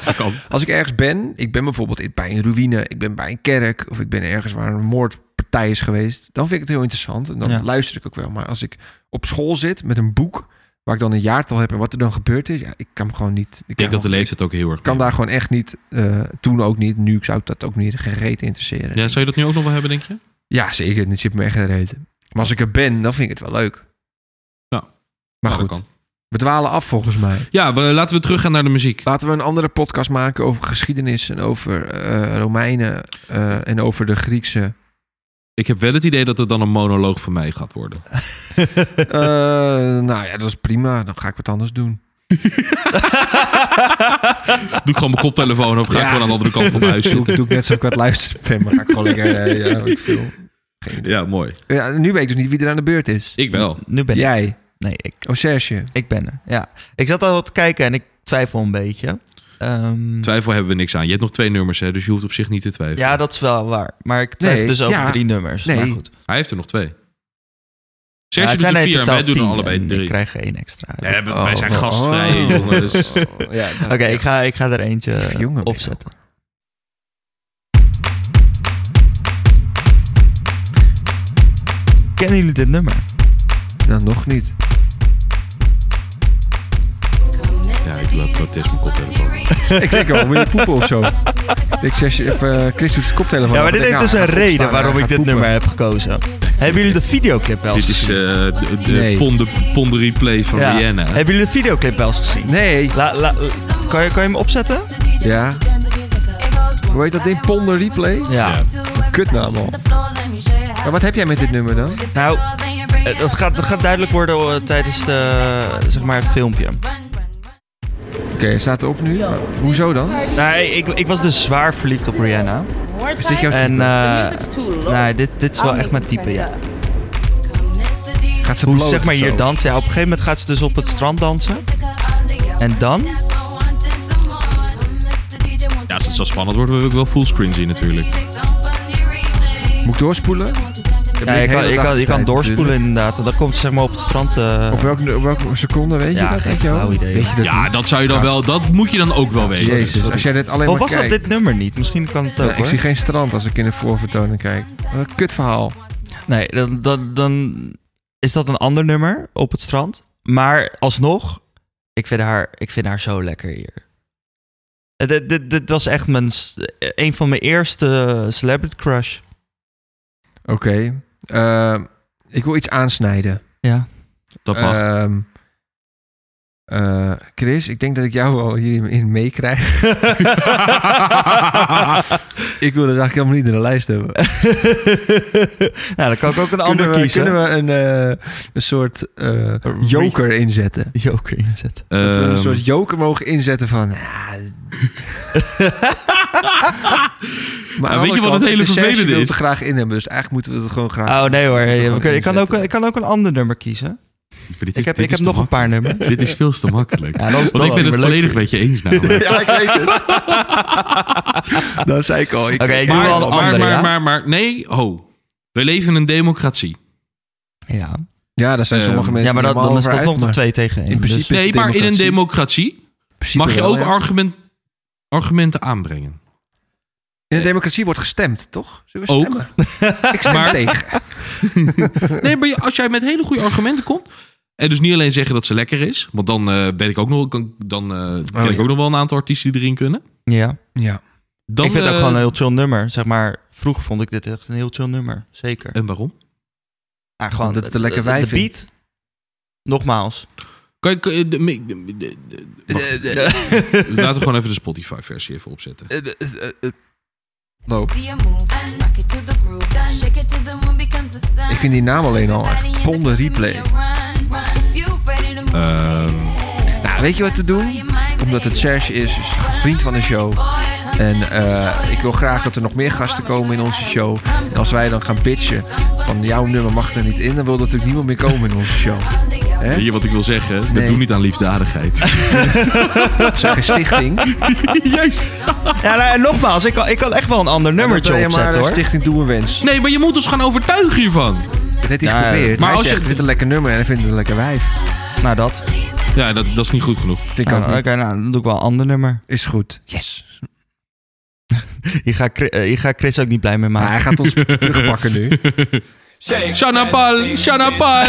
Speaker 2: Als ik ergens ben, ik ben bijvoorbeeld in- bij een ruïne, ik ben bij een kerk... of ik ben ergens waar een moordpartij is geweest... dan vind ik het heel interessant en dan
Speaker 3: Ja.
Speaker 2: luister ik ook wel. Maar als ik op school zit met een boek... Waar ik dan een jaartal heb en wat er dan gebeurd is. Ja, ik kan me gewoon niet.
Speaker 1: Ik denk dat de leeftijd ook heel erg.
Speaker 2: Ik kan daar gewoon echt niet. eh, toen ook niet. Nu zou ik dat ook niet gereed interesseren.
Speaker 1: Ja, zou je dat nu ook nog wel hebben, denk je?
Speaker 2: Ja, zeker. Dit zit me echt geen reden. Maar als ik er ben, dan vind ik het wel leuk.
Speaker 1: Nou,
Speaker 2: maar
Speaker 1: dat
Speaker 2: goed.
Speaker 1: kan.
Speaker 2: We dwalen af volgens mij.
Speaker 1: Ja, we- laten we teruggaan naar de muziek.
Speaker 2: Laten we een andere podcast maken over geschiedenis en over eh, Romeinen eh, en over de Griekse.
Speaker 1: Ik heb wel het idee dat het dan een monoloog van mij gaat worden.
Speaker 2: Eh, nou ja, dat is prima. Dan ga ik wat anders doen.
Speaker 1: Doe ik gewoon mijn koptelefoon of ga ik
Speaker 2: Ja.
Speaker 1: gewoon aan de andere kant van mijn huis
Speaker 2: Doe,
Speaker 1: zitten?
Speaker 2: doe ik net zo ik aan het luisteren ben, maar ga ik gewoon lekker... eh, ja, weet ik veel.
Speaker 1: Ja, mooi.
Speaker 2: Ja, nu weet ik dus niet wie er aan de beurt is.
Speaker 1: Ik wel.
Speaker 3: Nu ben ik.
Speaker 2: Jij.
Speaker 3: Nee, ik,
Speaker 2: Oh, Serge.
Speaker 3: ik ben er. Ja. Ik zat al wat te kijken en ik twijfel een beetje. Ehm,
Speaker 1: Twijfel hebben we niks aan. Je hebt nog twee nummers, hè, dus je hoeft op zich niet te twijfelen.
Speaker 3: ja, dat is wel waar. Maar ik twijfel
Speaker 2: Nee,
Speaker 3: dus over
Speaker 2: ja.
Speaker 3: drie nummers.
Speaker 2: Nee.
Speaker 3: Maar goed.
Speaker 1: Hij heeft er nog twee.
Speaker 3: Ja,
Speaker 1: Serge doet
Speaker 3: het zijn
Speaker 1: er
Speaker 3: er in
Speaker 1: vier en
Speaker 3: totaal
Speaker 1: wij doen er
Speaker 3: tien
Speaker 1: allebei
Speaker 3: en
Speaker 1: drie.
Speaker 3: Ik krijg één extra.
Speaker 1: Nee, we- wij zijn
Speaker 2: Oh,
Speaker 1: gastvrij,
Speaker 2: oh.
Speaker 1: jongens.
Speaker 2: Ja,
Speaker 3: Oké, ik, ga, ik ga er eentje
Speaker 2: Even jonger ben je
Speaker 3: opzetten. Kennen jullie dit nummer?
Speaker 2: Dan Nou, nog niet.
Speaker 1: Ja, ik loop dat is mijn koptelefoon.
Speaker 2: Ik denk wel, wil je poepen of zo? Ik zeg je even, eh, Chris doet zijn koptelefoon.
Speaker 3: Ja,
Speaker 2: af.
Speaker 3: maar dit
Speaker 2: Ik
Speaker 3: heeft
Speaker 2: denk,
Speaker 3: dus
Speaker 2: nou,
Speaker 3: een
Speaker 2: hij gaat
Speaker 3: reden
Speaker 2: opstaan,
Speaker 3: waarom
Speaker 2: hij
Speaker 3: ik
Speaker 2: gaat
Speaker 3: dit nummer
Speaker 2: poepen.
Speaker 3: heb gekozen. Hebben jullie de videoclip wel eens
Speaker 1: Dit is
Speaker 3: gezien?
Speaker 1: eh, de, de
Speaker 2: Nee.
Speaker 1: ponde, ponde replay van
Speaker 3: Ja.
Speaker 1: Rihanna.
Speaker 3: Hebben jullie de videoclip wel eens gezien?
Speaker 2: Nee,
Speaker 3: La, la, kan, je, kan je hem opzetten?
Speaker 2: ja. Hoe heet dat ding? Ponder Replay?
Speaker 3: Ja.
Speaker 2: Kutnaam al. Maar wat heb jij met dit nummer dan?
Speaker 3: Nou, eh, dat gaat, dat gaat duidelijk worden eh, tijdens de, eh, zeg maar het filmpje.
Speaker 2: Oké, hij staat erop nu. Maar hoezo dan?
Speaker 3: Nou, ik, ik was dus zwaar verliefd op Rihanna.
Speaker 2: Is dit jouw
Speaker 3: En
Speaker 2: type?
Speaker 3: eh nee, dit, dit is wel echt mijn type, ja.
Speaker 2: Gaat ze
Speaker 3: eh, Hoe
Speaker 2: bloot
Speaker 3: ze, zeg maar
Speaker 2: of zo?
Speaker 3: hier dansen. Ja, op een gegeven moment gaat ze dus op het strand dansen. En dan?
Speaker 1: Ja, als het zo spannend wordt, wil ik wel fullscreen zien natuurlijk.
Speaker 2: Moet ik doorspoelen?
Speaker 3: Ja, je kan, je kan, je kan doorspoelen inderdaad. En dan komt ze zeg maar op het strand. eh,
Speaker 2: Op welke, op welke seconde weet je
Speaker 3: Ja,
Speaker 2: dat?
Speaker 3: geen
Speaker 2: Weet je wel?
Speaker 3: flauw idee.
Speaker 2: Weet je dat
Speaker 1: Ja,
Speaker 2: niet?
Speaker 1: dat zou je dan wel... Dat moet je dan ook wel weten.
Speaker 2: Jezus, als jij dit alleen
Speaker 3: oh,
Speaker 2: maar
Speaker 3: was dat
Speaker 2: kijkt.
Speaker 3: dit nummer niet? Misschien kan het ook
Speaker 2: Ja, ik zie
Speaker 3: hoor.
Speaker 2: geen strand als ik in de voorvertoning kijk. Wat een kutverhaal.
Speaker 3: Nee, dan, dan, dan is dat een ander nummer op het strand. Maar alsnog, ik vind haar, ik vind haar zo lekker hier. Eh, Dit, dit, dit was echt mijn, s- eh, een van mijn eerste celebrity crush.
Speaker 2: Oké. ehm, ik wil iets aansnijden.
Speaker 3: Ja.
Speaker 1: Dat mag.
Speaker 2: Ehm, eh, Chris, ik denk dat ik jou al hierin meekrijg. ik wil dat eigenlijk helemaal niet in de lijst hebben.
Speaker 3: nou, dan kan ik ook een ander
Speaker 2: Kunnen we,
Speaker 3: kiezen.
Speaker 2: kunnen we een, eh, een soort eh, joker inzetten?
Speaker 3: Joker inzetten.
Speaker 2: Dat we
Speaker 1: Ehm,
Speaker 2: een soort joker mogen inzetten van... eh, ja. maar
Speaker 1: weet je wat het hele vervelende
Speaker 2: wil
Speaker 1: is?
Speaker 2: het er graag in hebben, dus eigenlijk moeten we het gewoon graag...
Speaker 3: Oh nee hoor,
Speaker 2: Dat is toch
Speaker 3: hey, we
Speaker 2: gewoon
Speaker 3: kunnen- ik, kan ook,
Speaker 2: inzetten.
Speaker 3: ik kan ook een ander nummer
Speaker 1: dit
Speaker 3: kiezen.
Speaker 1: is-
Speaker 3: Ik heb,
Speaker 1: dit
Speaker 3: ik heb
Speaker 1: is
Speaker 3: nog
Speaker 1: te
Speaker 3: een paar nummers.
Speaker 1: mak- Dit is veel te makkelijk.
Speaker 3: Ja, dat is- dat
Speaker 1: Want ik ben
Speaker 3: is
Speaker 1: het
Speaker 3: wel leuk.
Speaker 1: volledig met je eens namelijk.
Speaker 2: Ja, ik weet het. dat zei ik al. Ik-
Speaker 3: Oké, ik doe
Speaker 1: Maar,
Speaker 3: wel een
Speaker 1: maar,
Speaker 3: andere.
Speaker 1: maar,
Speaker 3: ja?
Speaker 1: maar, maar, nee, ho. We leven in een democratie.
Speaker 3: ja.
Speaker 2: Ja, daar zijn
Speaker 1: Ehm,
Speaker 2: sommige mensen
Speaker 3: ja, maar dat,
Speaker 2: normaal
Speaker 3: dan is
Speaker 2: over
Speaker 3: dat
Speaker 2: uit,
Speaker 3: nog
Speaker 2: maar-
Speaker 3: 2 tegen dus 1.
Speaker 2: in principe-
Speaker 1: Nee, maar in een
Speaker 2: democratie.
Speaker 1: democratie
Speaker 2: principe
Speaker 1: mag je
Speaker 2: wel,
Speaker 1: ook
Speaker 2: ja.
Speaker 1: argument, argumenten aanbrengen.
Speaker 2: In een democratie wordt gestemd, toch? Zullen we
Speaker 1: Ook.
Speaker 2: stemmen? ik stem
Speaker 1: Maar-
Speaker 2: tegen.
Speaker 1: Nee, maar je- als jij met hele goede argumenten komt. En dus niet alleen zeggen dat ze lekker is. Want dan eh, ben ik ook nog, kan- dan, eh, ken ik
Speaker 2: ja.
Speaker 1: ook nog wel een aantal artiesten die erin kunnen.
Speaker 3: Ja.
Speaker 2: Ja.
Speaker 1: Dan,
Speaker 3: ik vind het
Speaker 1: eh,
Speaker 3: ook gewoon een heel chill nummer. Zeg maar, vroeger vond ik dit echt een heel chill nummer. Zeker.
Speaker 1: En waarom?
Speaker 3: Ah, gewoon
Speaker 2: Omdat het een lekker
Speaker 3: de- de-
Speaker 2: wijf
Speaker 3: De beat. Nogmaals.
Speaker 1: Kan je, kan je- de- de- de- de- de- wacht. Laten we gewoon even de Spotify-versie even opzetten.
Speaker 3: Eh,
Speaker 2: Loop.
Speaker 4: Ik vind die naam alleen al echt. Ponde replay.
Speaker 1: Ehm,
Speaker 2: Nou, weet je wat te doen? Omdat het Serge is, is een vriend van de show. En eh, ik wil graag dat er nog meer gasten komen in onze show. En als wij dan gaan bitchen van jouw nummer mag er niet in... dan wil natuurlijk niemand meer komen in onze show. Hè?
Speaker 1: Weet je wat ik wil zeggen? Dat
Speaker 2: Nee.
Speaker 1: doe niet aan liefdadigheid.
Speaker 2: Op zijn stichting.
Speaker 1: Juist.
Speaker 3: Ja, nou, en nogmaals, ik kan, ik kan echt wel een ander nummertje
Speaker 2: Ja, maar
Speaker 3: opzetten
Speaker 2: de
Speaker 3: hoor.
Speaker 2: stichting Doe een Wens.
Speaker 1: Nee, maar je moet ons gaan overtuigen hiervan.
Speaker 2: Dat heeft hij
Speaker 3: Ja,
Speaker 2: geprobeerd.
Speaker 1: maar
Speaker 2: Maar hij
Speaker 1: als je-
Speaker 2: zegt, vindt een lekker nummer en hij vindt het een lekker wijf.
Speaker 3: Nou, dat.
Speaker 1: Ja, dat, dat is niet goed genoeg.
Speaker 2: Vind ik
Speaker 3: Ah,
Speaker 2: ook
Speaker 3: Oké,
Speaker 2: niet.
Speaker 3: nou, dan doe ik wel een ander nummer.
Speaker 2: Is goed. Yes.
Speaker 3: Hier gaat Chris, eh, hier gaat Chris ook niet blij mee
Speaker 2: Maar
Speaker 3: maken.
Speaker 2: hij gaat ons terugpakken nu.
Speaker 1: Chanapal, Chanapal,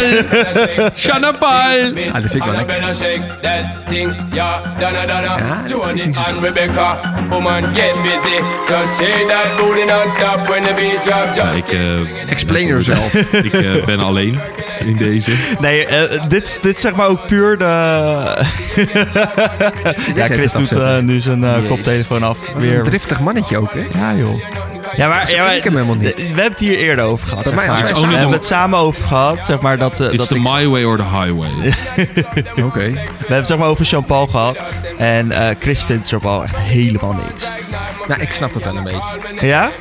Speaker 1: Chanapal.
Speaker 2: Ja, dat vind ik wel lekker.
Speaker 12: Better shake that thing, yeah, donna donna. Joan and Rebecca, woman get busy. Just shake that booty non-stop when the beat drop.
Speaker 1: Ja, ik, eh,
Speaker 2: Explain yourself.
Speaker 1: ik eh, ben alleen in deze.
Speaker 2: Ah.
Speaker 3: Nee, eh, dit, is- dit is zeg maar ook puur de... ja, Chris doet eh, nu zijn eh,
Speaker 2: Jezus.
Speaker 3: koptelefoon af.
Speaker 2: Wat een
Speaker 3: Weer.
Speaker 2: driftig mannetje ook, hè?
Speaker 3: Ja, joh. Ja, maar,
Speaker 2: Ze
Speaker 3: ja, maar-
Speaker 2: knikken hem helemaal niet.
Speaker 3: We hebben het hier eerder over gehad.
Speaker 2: Bij
Speaker 3: Zeg
Speaker 2: mij
Speaker 3: maar.
Speaker 2: is het
Speaker 3: We
Speaker 2: only
Speaker 3: hebben
Speaker 2: one.
Speaker 3: het samen over gehad. Zeg maar, dat, eh,
Speaker 1: It's
Speaker 3: dat
Speaker 1: the
Speaker 3: ik-
Speaker 1: my way or the highway.
Speaker 2: Oké.
Speaker 3: We hebben het zeg maar over Jean-Paul gehad. En eh, Chris vindt Jean-Paul echt helemaal niks.
Speaker 2: Nou, ik snap dat wel een beetje.
Speaker 3: Ja?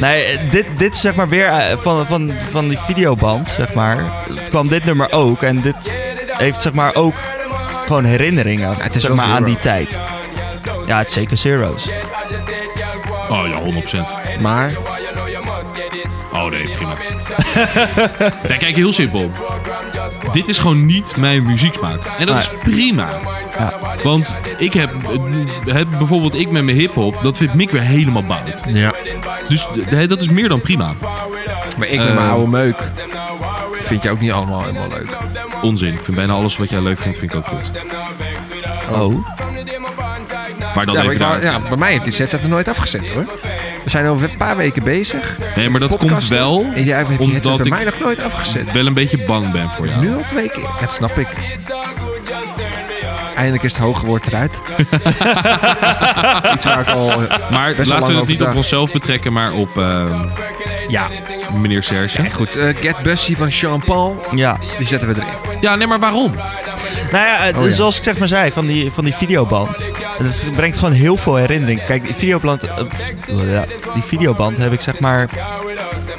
Speaker 3: Nee, eh, dit, dit is zeg maar weer eh, van, van, van die videoband, zeg maar. Het kwam dit nummer ook. En dit heeft zeg maar ook gewoon herinneringen. het
Speaker 2: is
Speaker 3: zeg
Speaker 2: wel
Speaker 3: maar aan
Speaker 2: Zero.
Speaker 3: die tijd. Ja, het is zeker Zero's.
Speaker 1: Oh ja, 100%.
Speaker 2: Maar?
Speaker 1: Oh nee, prima. ja, kijk, heel simpel. Dit is gewoon niet mijn muzieksmaak. En dat
Speaker 3: Nee.
Speaker 1: is prima. Want ik heb, eh, heb bijvoorbeeld ik met mijn hip-hop, dat vindt Mick weer helemaal bout.
Speaker 2: Ja.
Speaker 1: Dus d- nee, dat is meer dan prima.
Speaker 2: Maar ik met
Speaker 1: Eh.
Speaker 2: mijn oude meuk vind je ook niet allemaal helemaal leuk.
Speaker 1: Onzin. Ik vind bijna alles wat jij leuk vindt, vind ik ook goed.
Speaker 3: Oh.
Speaker 1: Maar dan
Speaker 2: ja,
Speaker 1: even
Speaker 2: ik wou-
Speaker 1: daar.
Speaker 2: ja, bij mij heeft die zet er nooit afgezet hoor. We zijn over een paar weken bezig.
Speaker 1: Nee, maar
Speaker 2: met
Speaker 1: dat komt
Speaker 2: podcasten.
Speaker 1: wel
Speaker 2: En jij hebt die headset
Speaker 1: omdat
Speaker 2: bij
Speaker 1: ik
Speaker 2: mij nog nooit afgezet.
Speaker 1: wel een beetje bang ben voor jou.
Speaker 2: Nu al twee keer. Dat snap ik. Eindelijk is het hoge woord eruit. Iets waar ik al. eh,
Speaker 1: Maar
Speaker 2: best wel lang
Speaker 1: laten we het
Speaker 2: over
Speaker 1: niet
Speaker 2: dacht.
Speaker 1: op onszelf betrekken, maar op eh,
Speaker 2: Ja,
Speaker 1: meneer Serge.
Speaker 2: nee, goed. eh, Get Bussy van Jean-Paul.
Speaker 3: Ja.
Speaker 2: Die zetten we erin.
Speaker 1: Ja, nee, maar waarom?
Speaker 3: Nou ja, eh,
Speaker 2: Oh ja.
Speaker 3: zoals ik zeg maar zei, van die, van die videoband. Het brengt gewoon heel veel herinnering. Kijk, die videoband, eh, pff, ja, die videoband heb ik zeg maar...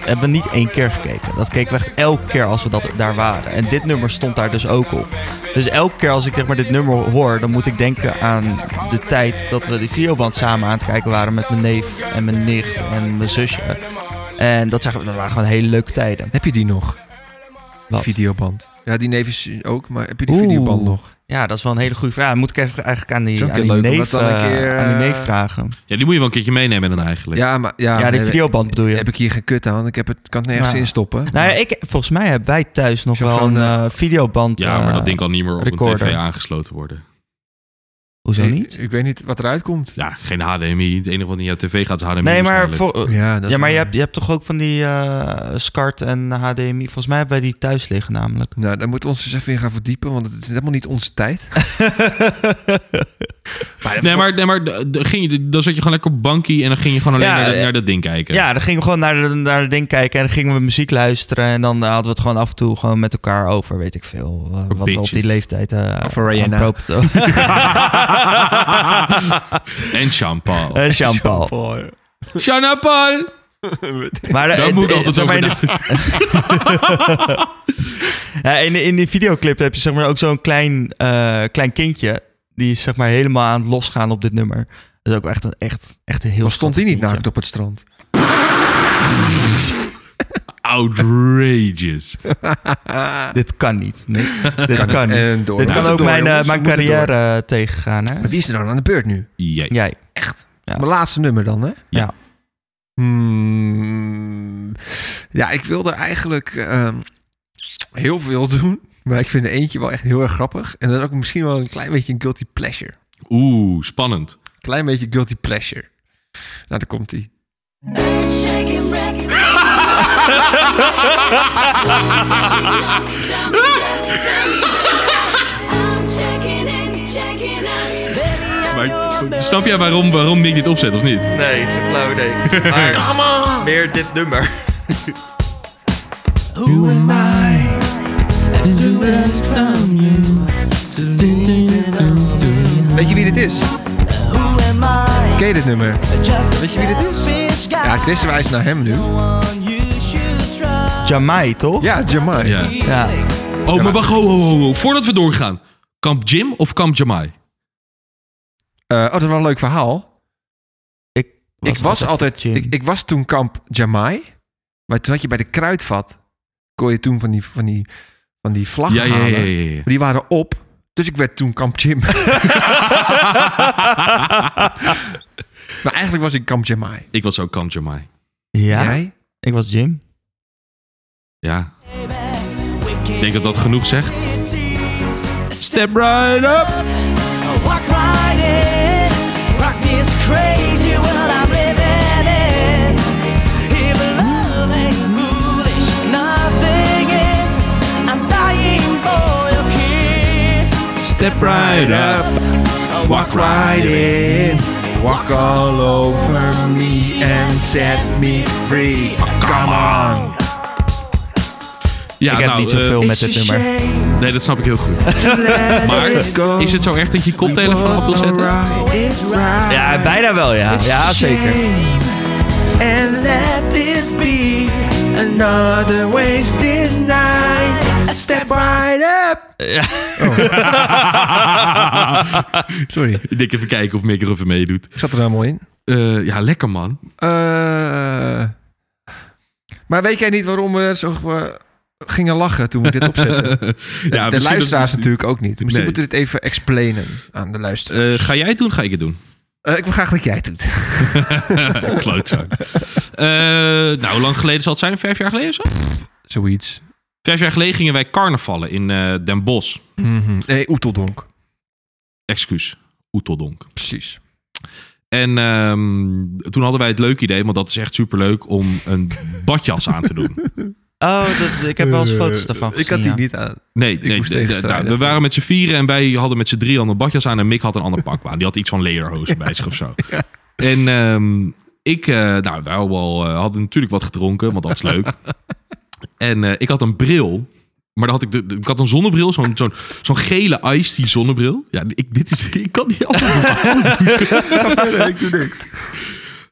Speaker 3: Hebben we niet één keer gekeken. Dat keken we echt elke keer als we dat, daar waren. En dit nummer stond daar dus ook op. Dus elke keer als ik zeg maar dit nummer hoor... dan moet ik denken aan de tijd dat we die videoband samen aan het kijken waren... met mijn neef en mijn nicht en mijn zusje. En dat, zeg, dat waren gewoon hele leuke tijden.
Speaker 2: Heb je die nog?
Speaker 3: Wat?
Speaker 2: Videoband. Ja, die neef is ook, maar heb je die
Speaker 3: Oeh.
Speaker 2: videoband nog?
Speaker 3: Ja, dat is wel een hele goede vraag. Moet ik even eigenlijk aan
Speaker 2: Is
Speaker 3: die,
Speaker 2: ook
Speaker 3: aan
Speaker 2: heel
Speaker 3: die,
Speaker 2: leuk om
Speaker 3: neef,
Speaker 2: dat dan een
Speaker 3: eh,
Speaker 2: keer,
Speaker 3: aan die neef
Speaker 2: eh,
Speaker 3: vragen.
Speaker 1: Ja, die moet je wel een keertje meenemen dan eigenlijk.
Speaker 2: Ja, maar ja,
Speaker 3: Ja, die
Speaker 2: nee,
Speaker 3: videoband bedoel je.
Speaker 2: heb ik hier geen kut aan, want ik heb het, kan het nergens
Speaker 3: Ja.
Speaker 2: instoppen.
Speaker 3: nou ja, ik, volgens mij hebben wij thuis nog
Speaker 2: Zo'n-
Speaker 3: wel een
Speaker 2: zo'n, eh,
Speaker 3: eh, videoband.
Speaker 1: Ja, maar
Speaker 3: eh,
Speaker 1: dat ding kan niet meer op
Speaker 3: recorder.
Speaker 1: een tv aangesloten worden.
Speaker 3: Hoezo
Speaker 2: Ik-
Speaker 3: niet?
Speaker 2: Ik, weet niet wat eruit komt.
Speaker 1: Ja, geen HDMI. Het enige wat in jouw tv gaat is HDMI.
Speaker 3: Nee, maar,
Speaker 1: waarschijnlijk.
Speaker 3: voor,
Speaker 2: Ja, dat
Speaker 3: ja,
Speaker 2: is
Speaker 3: maar je,
Speaker 2: waar.
Speaker 3: hebt, je hebt toch ook van die eh SCART en HDMI? Volgens mij hebben wij die thuis liggen namelijk.
Speaker 2: Nou, daar moeten we ons eens even in gaan verdiepen, want het is helemaal niet onze tijd.
Speaker 1: Nee, maar, nee, maar d- d- ging je, dan zat je gewoon lekker op bankie en dan ging je gewoon alleen
Speaker 3: Ja,
Speaker 1: naar, dat-
Speaker 3: eh,
Speaker 1: naar dat ding kijken.
Speaker 3: Ja, dan gingen we gewoon naar, de, naar het ding kijken en dan gingen we muziek luisteren. En dan hadden we het gewoon af en toe gewoon met elkaar over, weet ik veel. eh, wat we op
Speaker 1: bitches.
Speaker 3: die leeftijd... eh
Speaker 2: Over Rihanna.
Speaker 3: aan propt-
Speaker 1: En Jean-Paul.
Speaker 3: Eh, Jean-Paul.
Speaker 1: Jean-Paul!
Speaker 3: Maar, eh,
Speaker 1: Daar
Speaker 3: eh,
Speaker 1: moet ik
Speaker 3: eh,
Speaker 1: altijd
Speaker 3: zeg maar
Speaker 1: over
Speaker 3: in, de- Ja, in, in die videoclip heb je zeg maar ook zo'n klein, eh, klein kindje. Die is zeg maar helemaal aan het losgaan op dit nummer. Dat is ook echt een, echt, echt een heel
Speaker 2: Dan stond hij niet
Speaker 3: schattig
Speaker 2: naakt op het strand.
Speaker 1: Outrageous.
Speaker 3: kindje. Dit kan niet. Mick. Dit kan niet.
Speaker 2: En door.
Speaker 3: Dit
Speaker 2: We
Speaker 3: kan
Speaker 2: moeten
Speaker 3: ook
Speaker 2: door,
Speaker 3: mijn, eh,
Speaker 2: jongens, we
Speaker 3: mijn
Speaker 2: moeten door.
Speaker 3: carrière eh, tegengaan. Hè?
Speaker 2: Maar wie is er dan aan de beurt nu?
Speaker 1: Jij.
Speaker 3: Jij. Ja.
Speaker 2: Mijn laatste nummer dan, hè?
Speaker 3: Ja.
Speaker 2: Hmm. ja, ik wil er eigenlijk ehm, heel veel doen. Maar ik vind er eentje wel echt heel erg grappig. En dan ook misschien wel een klein beetje een guilty pleasure.
Speaker 1: Oeh, spannend.
Speaker 2: Klein beetje guilty pleasure. Nou, daar komt hij.
Speaker 1: Maar snap jij waarom, waarom Mick dit opzet of niet?
Speaker 3: Nee, flauw idee. Maar meer dit nummer.
Speaker 5: Who am I? And who has come you to lead on?
Speaker 2: Weet je wie dit is?
Speaker 5: Who am I?
Speaker 2: Ken je dit nummer?
Speaker 5: Just a
Speaker 2: Weet je wie dit is?
Speaker 5: selfish guy.
Speaker 2: Ja, Chris wijst naar hem nu.
Speaker 5: One you should try.
Speaker 3: Jamai, toch?
Speaker 2: Ja, Jamai.
Speaker 1: Ja.
Speaker 3: Ja.
Speaker 1: Oh, maar wacht, ho, ho, ho, ho. Voordat we doorgaan. Kamp Jim of Kamp Jamai?
Speaker 2: Eh, oh, dat is wel een leuk verhaal.
Speaker 3: Ik
Speaker 2: ik was altijd...
Speaker 3: Jim.
Speaker 2: Ik, ik was toen kamp Jamai. Maar toen had je bij de kruidvat... kon je toen van die, van die, van die vlag
Speaker 1: Ja, ja, ja,
Speaker 2: halen.
Speaker 1: ja, ja.
Speaker 2: Maar die waren op. Dus ik werd toen kamp Jim. maar eigenlijk was ik kamp Jamai.
Speaker 1: Ik was ook Kamp Jamai.
Speaker 3: Ja,
Speaker 2: Jij?
Speaker 3: ik was Jim.
Speaker 1: Ja. Ik denk dat dat genoeg zegt. Step right up!
Speaker 4: Walk right in, rock this crazy world I'm living in. If love ain't foolish, nothing is. I'm dying for your kiss.
Speaker 1: Step right up,
Speaker 2: walk right in, walk all over me and set me free. Come on.
Speaker 1: Ja,
Speaker 3: Ik heb
Speaker 1: nou,
Speaker 3: niet zoveel
Speaker 1: eh,
Speaker 3: met dit nummer.
Speaker 1: Nee, dat snap ik heel goed. maar is het zo erg dat je je koptelefoon af wil zetten?
Speaker 3: Ja, bijna wel, ja.
Speaker 1: It's
Speaker 3: Ja,
Speaker 1: a
Speaker 3: Ah, zeker.
Speaker 4: And let this be another wasted night. Step right up.
Speaker 1: Sorry. Ik denk even kijken of Mick er even meedoet.
Speaker 2: Ik zat er helemaal in.
Speaker 1: ja, lekker man.
Speaker 2: Eh, maar weet jij niet waarom we zo eh, gingen lachen toen we dit opzetten?
Speaker 1: Ja,
Speaker 2: de de
Speaker 1: misschien
Speaker 2: luisteraars
Speaker 1: dat-
Speaker 2: natuurlijk ook niet. Misschien
Speaker 1: Nee.
Speaker 2: moeten we dit even explainen aan de luisteraars.
Speaker 1: Eh, ga jij het doen, ga ik het doen?
Speaker 2: Eh, ik wil graag dat jij het doet.
Speaker 1: Klootzak. Eh, nou, hoe lang geleden zal het zijn? Vijf jaar geleden zo?
Speaker 2: Zoiets.
Speaker 1: Vijf jaar geleden gingen wij carnavallen in eh, Den Bosch.
Speaker 2: Nee, Mm, Oeteldonk.
Speaker 1: Excuus. Oeteldonk.
Speaker 2: Precies.
Speaker 1: En ehm, toen hadden wij het leuk idee, want dat is echt superleuk, om een badjas aan te doen.
Speaker 3: Oh, dat, ik heb wel
Speaker 2: Eh,
Speaker 3: eens foto's daarvan gezien.
Speaker 2: Ik had die
Speaker 3: ja.
Speaker 2: niet aan.
Speaker 1: Nee,
Speaker 2: Ik
Speaker 1: nee
Speaker 2: moest
Speaker 1: d-
Speaker 2: tegen
Speaker 1: d-
Speaker 2: strijden.
Speaker 1: nou, we waren met z'n vieren en wij hadden met z'n drieën al een badjas aan. En Mick had een ander pak aan. Die had iets van lederhozen bij zich of zo. En ehm, ik, eh, nou, wij hadden wel, eh, hadden natuurlijk wat gedronken, want dat is leuk. en eh, ik had een bril. Maar dan had ik, de, de- ik had een zonnebril, zo'n zo'n zo'n gele iced tea zonnebril. Ja, ik, dit is, ik kan die
Speaker 2: verder, ik doe niks.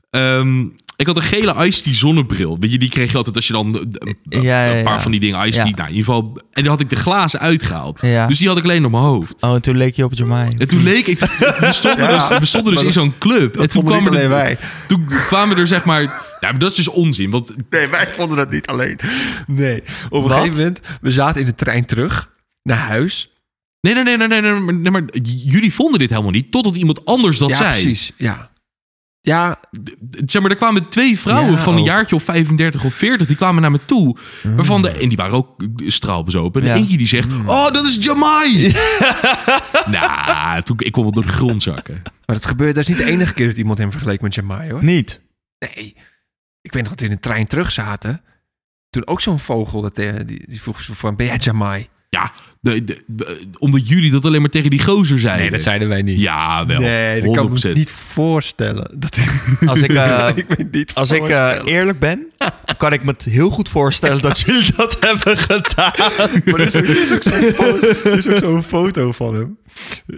Speaker 1: Ehm, ik had een gele iced tea zonnebril. Weet je, die kreeg je altijd als je dan eh, eh,
Speaker 3: Ja, ja,
Speaker 1: een paar
Speaker 3: ja.
Speaker 1: van die dingen iced tea.
Speaker 3: Ja.
Speaker 1: Nou, in ieder geval, en dan had ik de glazen uitgehaald.
Speaker 3: Ja.
Speaker 1: Dus die had ik alleen op mijn hoofd.
Speaker 3: Oh, en toen leek je op Jamai.
Speaker 1: En toen leek ik. We stonden
Speaker 3: Ja.
Speaker 1: dus, we stonden dus
Speaker 3: Maar
Speaker 1: in
Speaker 3: dat-
Speaker 1: zo'n club.
Speaker 3: dat
Speaker 1: en toen
Speaker 3: vonden
Speaker 1: kwamen
Speaker 3: niet
Speaker 1: er,
Speaker 3: alleen
Speaker 1: Toen kwamen er zeg maar. Ja, maar dat is dus onzin. Want
Speaker 2: Nee, wij vonden dat niet alleen. Nee. Op een
Speaker 1: Wat?
Speaker 2: gegeven moment, we zaten in de trein terug naar huis.
Speaker 1: Nee, nee, nee, nee, nee, nee, maar- nee, maar jullie vonden dit helemaal niet. Totdat iemand anders dat
Speaker 2: ja,
Speaker 1: zei.
Speaker 2: precies. Ja. Ja,
Speaker 1: Zeg maar, er kwamen twee vrouwen
Speaker 2: Ja,
Speaker 1: van een
Speaker 2: ook.
Speaker 1: jaartje of 35 of 40. Die kwamen naar me toe.
Speaker 3: Mm.
Speaker 1: Waarvan de, en die waren ook eh, straalbezopen. En
Speaker 2: Ja.
Speaker 1: eentje die zegt: Oh, dat is Jamai! nou, toen, ik kon wel door de grond zakken.
Speaker 2: maar dat gebeurt. Dat is niet de enige keer dat iemand hem vergeleek met Jamai, hoor.
Speaker 3: Niet.
Speaker 2: Nee. Ik weet nog dat we in de trein terug zaten. Toen ook zo'n vogel, dat, eh, die, die vroeg zo van, ben jij Jamai?
Speaker 1: Ja, de, de- de- omdat jullie dat alleen maar tegen die gozer zeiden.
Speaker 2: Nee, dat zeiden wij niet.
Speaker 1: Ja, wel.
Speaker 2: Nee, dat kan ik me
Speaker 1: 100%.
Speaker 2: niet voorstellen. Dat
Speaker 3: Als ik, eh,
Speaker 2: Ik weet niet
Speaker 3: als ik eh,
Speaker 2: voorstellen.
Speaker 3: eerlijk ben, dan kan ik me het heel goed voorstellen dat jullie dat hebben gedaan.
Speaker 2: Maar er is ook, er is ook zo'n fo- er is ook zo'n foto van hem.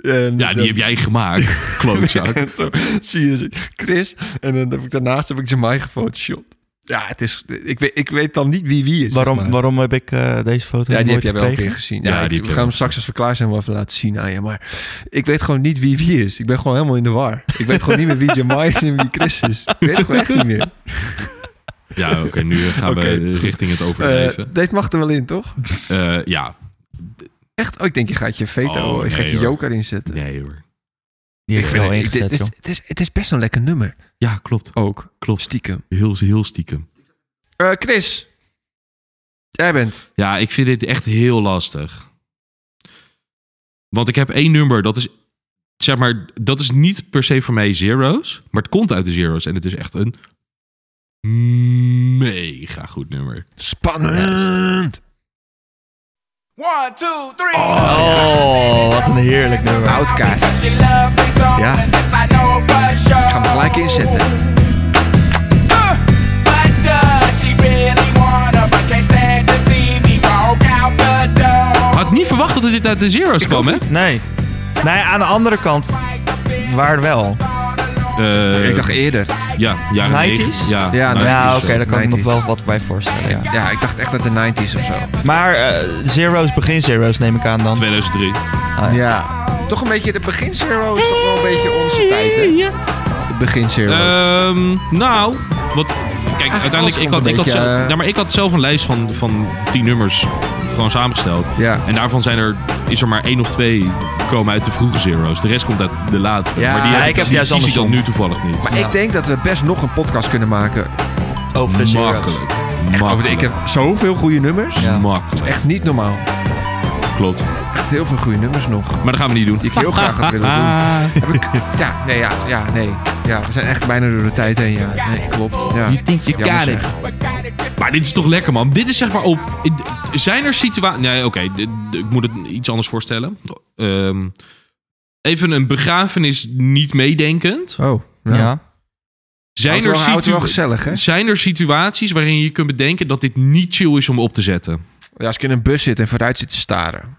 Speaker 2: En
Speaker 1: Ja, die
Speaker 2: dan-
Speaker 1: heb jij gemaakt, klootzak.
Speaker 2: en zo zie je Chris. En dan heb ik, daarnaast heb ik Jamai gefotoshopt. Ja, het is, ik, weet, ik weet dan niet wie wie is.
Speaker 3: Waarom,
Speaker 2: zeg maar.
Speaker 3: waarom heb ik eh, deze foto
Speaker 2: Ja, die heb
Speaker 3: nooit
Speaker 2: jij wel een
Speaker 3: gekregen?
Speaker 2: keer gezien.
Speaker 1: Ja, die
Speaker 2: Ja, ik-
Speaker 1: heb
Speaker 2: we
Speaker 1: jij
Speaker 2: gaan hem
Speaker 1: wel.
Speaker 2: straks als we klaar zijn wel even laten zien aan je. Maar ik weet gewoon niet wie wie is. Ik ben gewoon helemaal in de war. Ik weet gewoon niet meer wie Jamai is en wie Chris is. Ik weet het gewoon echt niet meer.
Speaker 1: Ja, oké, nu gaan
Speaker 2: Oké,
Speaker 1: we
Speaker 2: goed.
Speaker 1: richting het
Speaker 2: Eh,
Speaker 1: overdreven.
Speaker 2: deze mag er wel in, toch?
Speaker 1: Eh, ja.
Speaker 2: Echt? Oh, ik denk je gaat je veto,
Speaker 1: Oh,
Speaker 2: je gaat
Speaker 1: nee,
Speaker 2: je
Speaker 1: hoor.
Speaker 2: joker inzetten.
Speaker 1: Nee hoor.
Speaker 3: Die heb ik wel
Speaker 2: Ik- dit-
Speaker 3: ingezet,
Speaker 2: dit-
Speaker 3: joh.
Speaker 2: het, is, het is best een lekker nummer.
Speaker 1: Ja, klopt.
Speaker 2: Ook.
Speaker 1: Klopt.
Speaker 2: Stiekem.
Speaker 1: Heel, heel stiekem.
Speaker 2: Eh, Chris. Jij bent.
Speaker 1: Ja, ik vind dit echt heel lastig. Want ik heb één nummer, dat is... Zeg maar, dat is niet per se voor mij Zero's. Maar het komt uit de Zero's. En het is echt een mega goed nummer.
Speaker 2: Spannend.
Speaker 4: One, two, three.
Speaker 3: Oh, wat een heerlijk nummer.
Speaker 2: Outcast.
Speaker 4: She loves me so,
Speaker 2: Ja.
Speaker 4: and if I know for
Speaker 2: Ik ga hem gelijk inzetten.
Speaker 4: But does she really wanna? But can't stand to see me walk out the door.
Speaker 1: Had niet verwacht dat dit uit de Zero's kwam, hè?
Speaker 3: Nee. Nee, aan de andere kant, waar wel.
Speaker 1: Eh,
Speaker 2: Ik dacht eerder.
Speaker 1: ja, jaren
Speaker 3: 90s?
Speaker 1: negen- Ja,
Speaker 2: Ja,
Speaker 1: nou,
Speaker 3: Ja,
Speaker 1: het is,
Speaker 3: oké, daar kan ik me
Speaker 2: 90s.
Speaker 3: nog wel wat bij voorstellen. Ja.
Speaker 2: Ja, ik dacht echt uit de 90s of zo.
Speaker 3: Maar eh, zero's, begin zero's neem ik aan dan.
Speaker 1: 2003.
Speaker 2: Ja. Toch een beetje de begin zero is toch wel een beetje onze tijd, hè? De begin zero.
Speaker 1: Ehm, nou, wat, kijk,
Speaker 2: alles
Speaker 1: uiteindelijk, ik
Speaker 2: komt
Speaker 1: had,
Speaker 2: een
Speaker 1: ik, had
Speaker 2: beetje,
Speaker 1: zelf,
Speaker 2: eh,
Speaker 1: ja, maar ik had zelf een lijst van, van tien nummers gewoon samengesteld.
Speaker 2: Ja.
Speaker 1: En daarvan zijn er, is er maar één of twee komen uit de vroege zero's. De rest komt uit de late.
Speaker 2: Ja,
Speaker 1: maar die
Speaker 2: ja,
Speaker 1: heb
Speaker 3: ik heb
Speaker 1: die-
Speaker 3: juist
Speaker 1: die zie ik
Speaker 3: andersom.
Speaker 1: dan nu toevallig niet.
Speaker 2: Maar ik denk dat we best nog een podcast kunnen maken
Speaker 3: Over de zero's.
Speaker 1: Makkelijk.
Speaker 2: Echt over de- ik heb zoveel goede nummers.
Speaker 1: Makkelijk.
Speaker 2: Echt niet normaal.
Speaker 1: Klopt.
Speaker 2: Echt heel veel goede nummers nog.
Speaker 1: Maar dat gaan we niet doen.
Speaker 2: Die ik heel graag had willen doen. Heb ik, ja, nee, ja, ja, nee. Ja, we zijn echt bijna door de tijd heen. Ja, nee, klopt. Ja.
Speaker 1: You think you
Speaker 2: Jammer
Speaker 1: got it.
Speaker 2: zeg.
Speaker 1: Maar dit is toch lekker, man. Dit is zeg maar op... Zijn er situaties... Nee, oké. dit- dit- ik moet het iets anders voorstellen. Ehm, even een begrafenis niet meedenkend.
Speaker 2: Oh,
Speaker 3: ja.
Speaker 1: Zijn
Speaker 2: Houdt
Speaker 1: er,
Speaker 2: wel- houdt
Speaker 1: situ-
Speaker 2: wel gezellig, hè?
Speaker 1: zijn er situaties waarin je kunt bedenken dat dit niet chill is om op te zetten?
Speaker 2: Ja, als ik in een bus zit en vooruit zit te staren.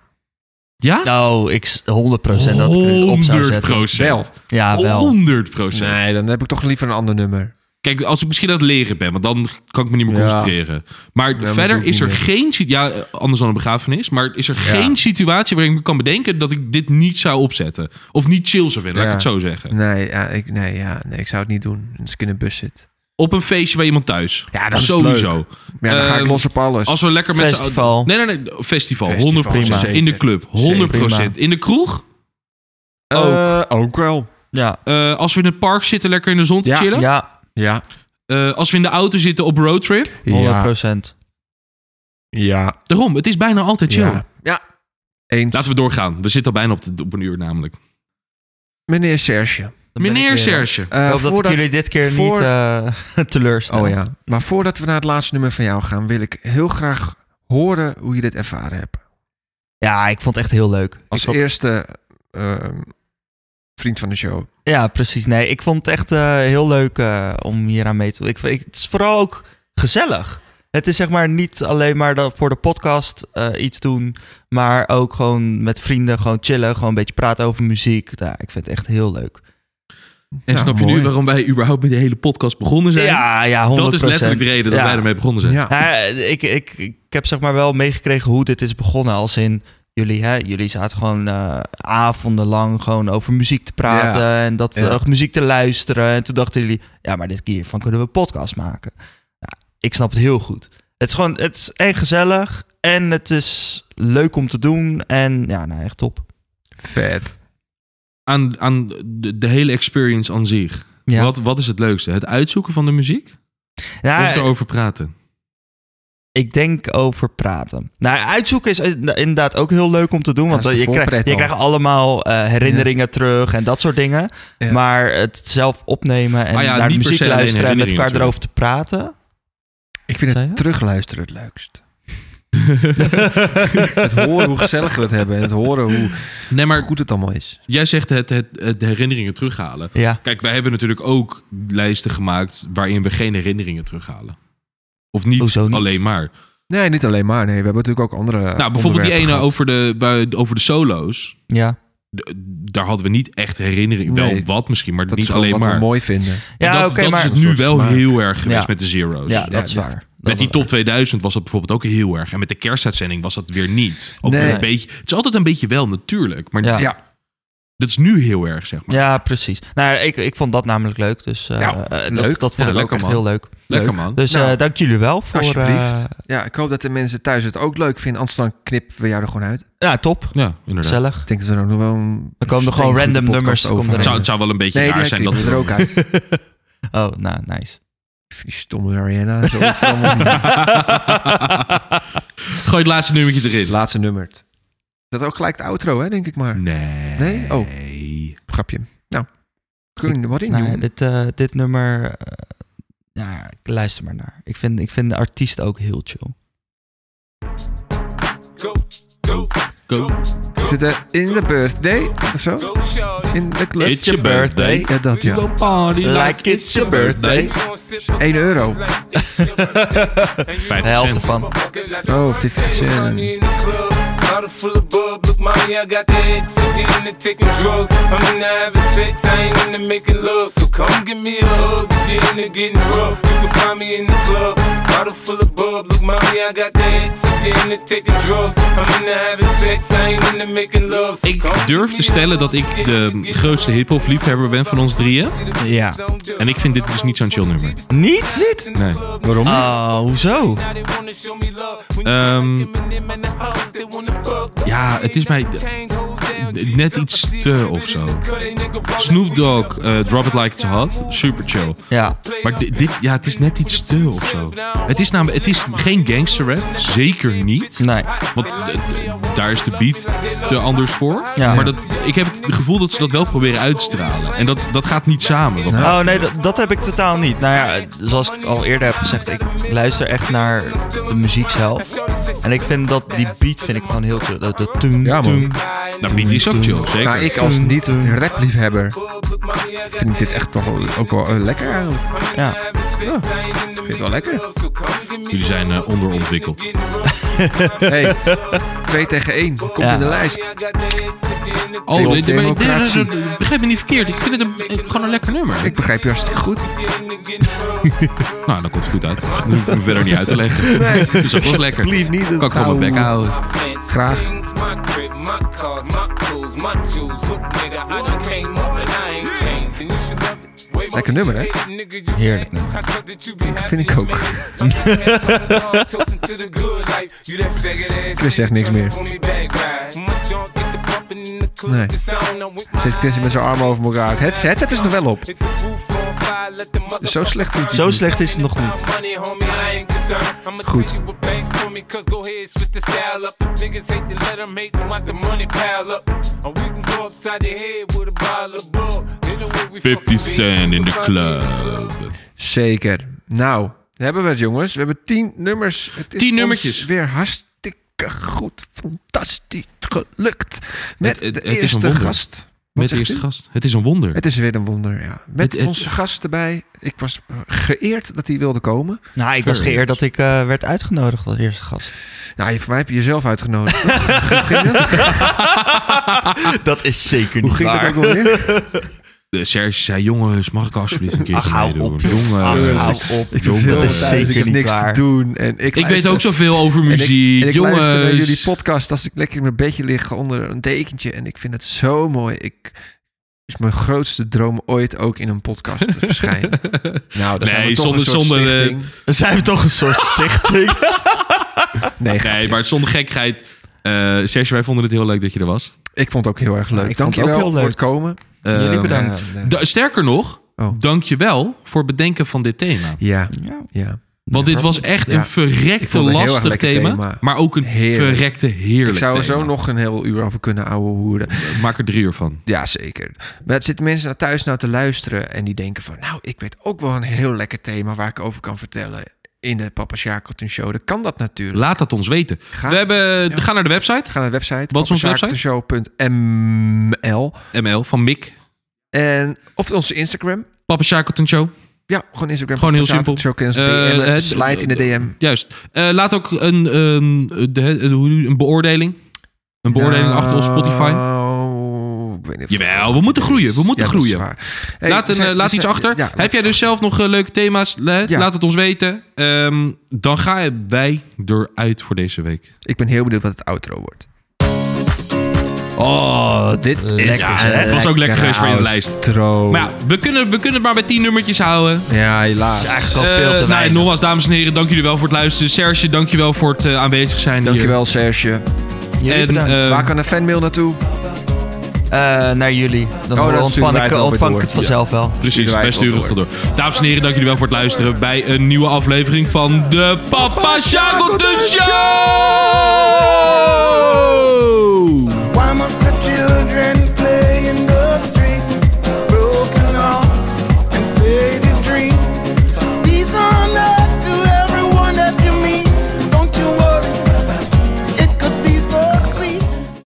Speaker 1: Ja?
Speaker 3: Nou, ik s- 100% dat ik het op zou zetten.
Speaker 1: 100%.
Speaker 2: Wel.
Speaker 3: Ja, wel.
Speaker 1: 100%.
Speaker 2: Nee, dan heb ik toch liever een ander nummer.
Speaker 1: Kijk, als ik misschien aan het leren ben, want dan kan ik me niet meer
Speaker 2: Ja.
Speaker 1: concentreren. Maar
Speaker 2: maar doe
Speaker 1: verder
Speaker 2: ik
Speaker 1: is
Speaker 2: niet
Speaker 1: er
Speaker 2: meer.
Speaker 1: geen... sit- Ja, eh, anders dan een begrafenis. Maar is er
Speaker 2: Ja.
Speaker 1: geen situatie waarin ik me kan bedenken dat ik dit niet zou opzetten. Of niet chill zou vinden, laat ik
Speaker 2: Ja.
Speaker 1: het zo zeggen.
Speaker 2: Nee, ja, ik, nee, ja, nee, ik zou het niet doen als ik in een bus zit.
Speaker 1: Op een feestje bij iemand thuis.
Speaker 2: Ja, dat is
Speaker 1: Sowieso.
Speaker 2: leuk. Ja, dan ga ik
Speaker 1: Ehm,
Speaker 2: los op alles.
Speaker 1: Als we lekker met z'n-
Speaker 3: Festival.
Speaker 1: Nee, nee, nee. Festival.
Speaker 2: Festival,
Speaker 1: 100 prima.
Speaker 2: zeker.
Speaker 1: In de club. 100
Speaker 3: Zeker.
Speaker 1: In de kroeg.
Speaker 2: Eh, ook wel.
Speaker 3: Ja.
Speaker 1: Eh, als we in het park zitten, lekker in de zon te
Speaker 2: Ja.
Speaker 1: chillen.
Speaker 3: Ja,
Speaker 2: Ja.
Speaker 1: Eh, als we in de auto zitten op roadtrip.
Speaker 3: 100%.
Speaker 2: Ja. Ja.
Speaker 1: Daarom, het is bijna altijd chill.
Speaker 2: Ja. ja. Eens.
Speaker 1: Laten we doorgaan. We zitten al bijna op, de, op een uur namelijk.
Speaker 2: Meneer Serge.
Speaker 3: Dan ben
Speaker 1: Meneer
Speaker 3: ik weer-
Speaker 1: Serge.
Speaker 2: Eh,
Speaker 3: ik hoop dat ik
Speaker 2: voordat-
Speaker 3: jullie dit keer
Speaker 2: voor-
Speaker 3: niet eh teleurstel.
Speaker 2: Oh ja. Maar voordat we naar het laatste nummer van jou gaan, wil ik heel graag horen hoe je dit ervaren hebt.
Speaker 3: Ja, ik vond het echt heel leuk.
Speaker 2: Als
Speaker 3: ik vond-
Speaker 2: eerste ehm, vriend van de show.
Speaker 3: Ja, precies. Nee, ik vond het echt eh, heel leuk eh, om hier aan mee te ik, ik- Het is vooral ook gezellig. Het is zeg maar niet alleen maar dat voor de podcast eh, iets doen, maar ook gewoon met vrienden gewoon chillen, gewoon een beetje praten over muziek. Ja, ik vind het echt heel leuk.
Speaker 1: En snap je nu waarom wij überhaupt met de hele podcast begonnen zijn?
Speaker 3: Ja, ja, 100%.
Speaker 1: Dat is letterlijk de reden dat
Speaker 3: Ja.
Speaker 1: wij ermee begonnen zijn.
Speaker 2: Ja.
Speaker 3: Nou Ja, ik, ik, ik heb zeg maar wel meegekregen hoe dit is begonnen. Als in jullie, hè, jullie zaten gewoon eh, avondenlang gewoon over muziek te praten en dat,
Speaker 2: Ja.
Speaker 3: eh, muziek te luisteren. En toen dachten jullie, ja, maar dit keer van kunnen we een podcast maken. Ja, ik snap het heel goed. Het is gewoon, het is en gezellig en het is leuk om te doen. En ja, nou echt top.
Speaker 2: Vet.
Speaker 1: Aan, aan de, de hele experience aan zich.
Speaker 3: Ja.
Speaker 1: Wat, wat is het leukste? Het uitzoeken van de muziek?
Speaker 3: Ja,
Speaker 1: of erover praten?
Speaker 3: Ik denk over praten. Nou, uitzoeken is inderdaad ook heel leuk om te doen. Want
Speaker 2: dat is
Speaker 3: je,
Speaker 2: de
Speaker 3: krijgt,
Speaker 2: voorpret
Speaker 3: je
Speaker 2: al.
Speaker 3: krijgt allemaal eh, herinneringen terug en dat soort dingen.
Speaker 2: Ja.
Speaker 3: Maar het zelf opnemen en
Speaker 1: Ah ja,
Speaker 3: naar de
Speaker 1: niet per
Speaker 3: muziek
Speaker 1: se alleen
Speaker 3: luisteren en met elkaar
Speaker 1: herinneringen
Speaker 3: erover te praten.
Speaker 2: Ik vind
Speaker 3: Zei je?
Speaker 2: het terugluisteren het leukst. het horen hoe gezellig we het hebben. En het horen hoe
Speaker 1: Nee, maar
Speaker 2: goed het allemaal is.
Speaker 1: jij zegt het, het, het herinneringen terughalen.
Speaker 3: Ja,
Speaker 1: Kijk, wij hebben natuurlijk ook lijsten gemaakt waarin we geen herinneringen terughalen. Of niet,
Speaker 3: Hoezo niet?
Speaker 1: alleen maar.
Speaker 2: Nee, niet alleen maar. Nee, we hebben natuurlijk ook andere
Speaker 1: nou, bijvoorbeeld die
Speaker 2: onderwerpen
Speaker 1: ene
Speaker 2: gehad.
Speaker 1: over de, bij- over de solo's.
Speaker 3: ja.
Speaker 1: D- daar hadden we niet echt herinneringen. Wel
Speaker 2: Nee,
Speaker 1: wat misschien, maar
Speaker 2: Dat
Speaker 1: niet
Speaker 2: is gewoon
Speaker 1: alleen
Speaker 2: wat
Speaker 1: maar.
Speaker 2: we mooi vinden.
Speaker 1: En
Speaker 3: Ja,
Speaker 1: dat
Speaker 3: oké,
Speaker 1: dat
Speaker 3: maar...
Speaker 1: is het nu
Speaker 2: soort
Speaker 1: wel
Speaker 2: smaak.
Speaker 1: heel erg geweest
Speaker 3: Ja.
Speaker 1: met de zero's.
Speaker 3: Ja, dat is
Speaker 2: ja.
Speaker 3: waar. Dat
Speaker 1: Met die
Speaker 3: is waar.
Speaker 1: top 2000 was dat bijvoorbeeld ook heel erg. En met de kerstuitzending was dat weer niet. Ook
Speaker 2: Nee.
Speaker 1: weer een beetje, het is altijd een beetje wel natuurlijk. Maar
Speaker 3: Ja.
Speaker 2: Ja.
Speaker 1: dat is nu heel erg, zeg maar.
Speaker 3: Ja, precies. Nou, ik, ik vond dat namelijk leuk. Dus eh,
Speaker 2: Ja,
Speaker 3: eh,
Speaker 2: Nou, leuk.
Speaker 3: Dat, dat
Speaker 1: Ja,
Speaker 3: vond ik ook
Speaker 1: lekker,
Speaker 3: echt
Speaker 1: man.
Speaker 3: heel leuk.
Speaker 1: Lekker
Speaker 2: Leuk.
Speaker 1: man.
Speaker 3: Dus eh,
Speaker 2: Nou,
Speaker 3: dank jullie wel voor...
Speaker 2: Alsjeblieft.
Speaker 3: eh,
Speaker 2: Ja, ik hoop dat de mensen thuis het ook leuk vinden. Anders dan knippen we jou er gewoon uit.
Speaker 3: ja, top.
Speaker 1: ja, inderdaad.
Speaker 3: Gezellig.
Speaker 2: Ik denk dat we er ook nog wel een...
Speaker 3: Er komen er gewoon
Speaker 2: steengoede
Speaker 3: random
Speaker 2: podcast
Speaker 3: nummers, komen
Speaker 2: overheen.
Speaker 1: Het zou, het zou wel een beetje
Speaker 2: Nee,
Speaker 1: raar
Speaker 2: die
Speaker 1: zijn dat
Speaker 2: knippen
Speaker 1: we
Speaker 2: we er ook uit.
Speaker 3: Oh, nou, nice.
Speaker 2: Die stomme Ariana. Zo overal.
Speaker 1: Gooi het laatste nummertje erin.
Speaker 2: Laatste nummer. Dat is ook gelijk de outro, hè, denk ik maar.
Speaker 1: Nee.
Speaker 2: Nee? Oh. Grapje. Nou, kun je wat in,
Speaker 3: Nou, ja,
Speaker 2: jongen?
Speaker 3: dit, eh, dit nummer, eh, ja, ik luister maar naar. Ik vind, ik vind de artiest ook heel chill.
Speaker 1: Go.
Speaker 2: We zitten in de birthday, of zo? In de club.
Speaker 1: It's your birthday.
Speaker 2: Ja, dat ja.
Speaker 1: party
Speaker 3: like it's your birthday.
Speaker 2: 1 euro.
Speaker 1: Bij
Speaker 3: De helft ervan.
Speaker 2: Oh, 50 cent.
Speaker 1: Ik durf te stellen dat ik de grootste hip-hop liefhebber ben van ons drieën.
Speaker 3: Ja.
Speaker 1: En ik vind dit dus niet zo'n chill nummer.
Speaker 3: Niet?
Speaker 1: Nee.
Speaker 2: Waarom niet?
Speaker 3: Oh, hoezo?
Speaker 1: Ehm, ja, het is mij. net iets te of zo. Snoop Dogg, eh, Drop It Like It's Hot, super chill.
Speaker 3: Ja.
Speaker 1: Maar di- dit, ja, het is net iets te of zo. Het is, namelijk, het is geen gangster rap, zeker niet.
Speaker 3: Nee.
Speaker 1: Want d- d- daar is de beat te anders voor.
Speaker 3: Ja.
Speaker 1: Maar dat, ik heb het gevoel dat ze dat wel proberen uit te stralen. En dat, dat gaat niet samen. wat mij
Speaker 3: Oh nee, dat, dat heb ik totaal niet. Nou ja, zoals ik al eerder heb gezegd, ik luister echt naar de muziek zelf. En ik vind dat die beat vind ik gewoon heel chill. Dat, dat toen,
Speaker 2: Ja, man.
Speaker 3: toen.
Speaker 1: Nou, beat is ook chill, zeker.
Speaker 2: Nou, ik als niet-rapliefhebber vind dit echt toch wel- ook wel eh, lekker eigenlijk.
Speaker 3: Ja.
Speaker 2: Ik vind het wel lekker.
Speaker 1: Jullie zijn eh, onderontwikkeld.
Speaker 2: hey, 2 tegen 1. Komt
Speaker 1: Ja.
Speaker 2: in de lijst.
Speaker 1: Oh, nee, nee, maar ik- nee, nee,
Speaker 2: Democratie.
Speaker 1: nee, nee, begrijp me niet verkeerd. Ik vind het een, eh, gewoon een lekker nummer.
Speaker 2: Ik begrijp je hartstikke goed.
Speaker 1: Nou, dan komt het goed uit. Dat hoef ik me verder niet uit te leggen. Dus
Speaker 2: Nee.
Speaker 1: Dat is ook wel eens lekker.
Speaker 2: Alsjeblieft niet, dat
Speaker 1: Kan ik gewoon mijn bek
Speaker 2: zou-
Speaker 1: houden.
Speaker 2: Graag. Lekker nummer, hè?
Speaker 3: Heerlijk nummer.
Speaker 2: Vind ik ook. Chris zegt niks meer. Nee. Zit Chris met zijn armen over elkaar. Het het- het is nog wel op. Dus zo slecht vindt hij
Speaker 3: Zo
Speaker 2: het
Speaker 3: slecht is het nog niet.
Speaker 2: Goed.
Speaker 1: niet. 50 Cent in de club.
Speaker 2: Zeker. Nou, dan hebben we het, jongens. We hebben tien nummers. Het is
Speaker 1: Tien
Speaker 2: ons
Speaker 1: nummertjes.
Speaker 2: weer hartstikke goed. Fantastisch gelukt. Met
Speaker 1: Het- het-
Speaker 2: de
Speaker 1: het is een
Speaker 2: eerste
Speaker 1: wonder.
Speaker 2: gast. Wat
Speaker 1: Met de
Speaker 2: zegt
Speaker 1: eerste
Speaker 2: u?
Speaker 1: gast. Het is een wonder.
Speaker 2: Het is weer een wonder, ja. Met
Speaker 1: Het- het-
Speaker 2: onze gast erbij. Ik was eh, geëerd dat hij wilde komen.
Speaker 3: Nou, ik was geëerd dat ik eh, werd uitgenodigd als eerste gast.
Speaker 2: Nou, je- voor mij heb je jezelf uitgenodigd. Hoe
Speaker 3: Dat is zeker niet
Speaker 2: ging
Speaker 3: waar.
Speaker 2: dat ook alweer?
Speaker 1: De Eh, Serge zei, jongens, mag ik alsjeblieft
Speaker 2: Ah,
Speaker 1: een keertje
Speaker 3: Ach, hou
Speaker 1: meedoen?
Speaker 3: op, joh.
Speaker 1: Jongen,
Speaker 3: Ach, hou
Speaker 1: ik-
Speaker 3: op,
Speaker 2: Ik
Speaker 1: jongen.
Speaker 2: ben veel
Speaker 3: dat is
Speaker 2: thuis,
Speaker 3: zeker
Speaker 2: ik heb
Speaker 3: niet
Speaker 2: niks
Speaker 3: waar.
Speaker 2: te doen. En ik,
Speaker 1: Ik weet
Speaker 2: luister-
Speaker 1: ook zoveel over
Speaker 2: En ik-
Speaker 1: muziek,
Speaker 2: En ik,
Speaker 1: jongens.
Speaker 2: luister naar jullie podcast als ik lekker in mijn bedje lig onder een dekentje. En ik vind het zo mooi. Ik is mijn grootste droom ooit ook in een podcast te verschijnen. Nou, dat zijn we
Speaker 1: nee,
Speaker 2: toch
Speaker 1: zonder,
Speaker 2: een soort
Speaker 1: zonder, eh,
Speaker 2: stichting.
Speaker 3: Dan zijn we toch een soort stichting.
Speaker 2: Nee, ga-
Speaker 1: nee, maar zonder gekheid. Eh Serge, wij vonden het heel leuk dat je er was.
Speaker 2: ik vond het ook heel erg leuk.
Speaker 3: ik vond het ook
Speaker 2: Dankjewel
Speaker 3: heel
Speaker 2: voor
Speaker 3: leuk.
Speaker 2: het komen.
Speaker 1: Eh,
Speaker 3: Jullie bedankt.
Speaker 2: Ja,
Speaker 1: da- sterker nog,
Speaker 2: Oh.
Speaker 1: dankjewel voor het bedenken van dit thema.
Speaker 2: ja.
Speaker 3: Ja.
Speaker 2: ja.
Speaker 1: Want dit was echt
Speaker 2: Ja.
Speaker 1: een
Speaker 2: Ik
Speaker 1: verrekte
Speaker 2: vond het een heel erg
Speaker 1: lastig
Speaker 2: lekker
Speaker 1: thema,
Speaker 2: thema.
Speaker 1: Maar ook een
Speaker 2: Heerlijk.
Speaker 1: verrekte heerlijk
Speaker 2: Ik zou er zo
Speaker 1: thema.
Speaker 2: nog een heel uur over kunnen ouwe hoeren.
Speaker 1: Maak er drie uur van.
Speaker 2: Ja, zeker. Maar het zitten mensen naar thuis nou te luisteren en die denken van... nou, ik weet ook wel een heel lekker thema waar ik over kan vertellen... in de Papa Shackleton Show. Dan kan dat natuurlijk.
Speaker 1: Laat dat ons weten.
Speaker 2: Ga-
Speaker 1: we hebben,
Speaker 2: Ja.
Speaker 1: Ga naar de website,
Speaker 2: Ga naar de website.
Speaker 1: Wat is onze website?
Speaker 2: papashackletonshow.ml
Speaker 1: ML, van Mick.
Speaker 2: En of onze Instagram.
Speaker 1: Papa Shackleton Show.
Speaker 2: Ja, gewoon Instagram.
Speaker 1: Gewoon heel
Speaker 2: Papa
Speaker 1: simpel.
Speaker 2: Shackleton Show.
Speaker 1: Eh,
Speaker 2: Kun je ons DM'en.
Speaker 1: het-
Speaker 2: slide in de DM.
Speaker 1: Juist. Eh, laat ook een, een, de- de- hoe- een beoordeling. Een beoordeling achter op Spotify.
Speaker 2: Nou, ik weet niet of-
Speaker 1: Jawel, we moeten groeien. We moeten
Speaker 2: Ja, dat is
Speaker 1: groeien.
Speaker 2: waar. Hey,
Speaker 1: laat
Speaker 2: we
Speaker 1: een,
Speaker 2: zijn-
Speaker 1: eh,
Speaker 2: we
Speaker 1: laat
Speaker 2: zijn-
Speaker 1: iets achter.
Speaker 2: ja,
Speaker 1: Heb
Speaker 2: laat-
Speaker 1: jij dus zelf nog eh, leuke thema's? La-
Speaker 2: Ja.
Speaker 1: Laat het ons weten. Ehm, dan gaan wij eruit voor deze week.
Speaker 2: Ik ben heel benieuwd wat het outro wordt. Oh, dit is
Speaker 1: Ja, het was ook lekker geweest voor in de lijst.
Speaker 2: Outro.
Speaker 1: Maar ja, we kunnen, we kunnen het maar bij 10 nummertjes houden.
Speaker 2: Ja, helaas.
Speaker 3: Eigenlijk al
Speaker 1: Eh,
Speaker 3: veel te
Speaker 1: nou, en
Speaker 3: weinig.
Speaker 1: nogmaals, dames en heren, dank jullie wel voor het luisteren. Serge, dank je wel voor het eh, aanwezig zijn
Speaker 2: Dankjewel, Serge.
Speaker 1: hier.
Speaker 3: Jullie
Speaker 1: En,
Speaker 3: bedankt.
Speaker 1: eh,
Speaker 2: Waar kan een fanmail naartoe?
Speaker 3: Eh, naar jullie. Dan
Speaker 2: Oh, dat sturen
Speaker 3: ontvang
Speaker 2: wij
Speaker 3: ik,
Speaker 2: het wel
Speaker 3: ontvang
Speaker 2: weer
Speaker 3: ik het
Speaker 2: door.
Speaker 3: vanzelf wel.
Speaker 1: Precies,
Speaker 2: Sturen wij
Speaker 1: wij
Speaker 2: het
Speaker 1: sturen
Speaker 2: wel
Speaker 1: het door. Dames en heren, dank jullie wel voor het luisteren bij een nieuwe aflevering van de Papa Shackleton Show!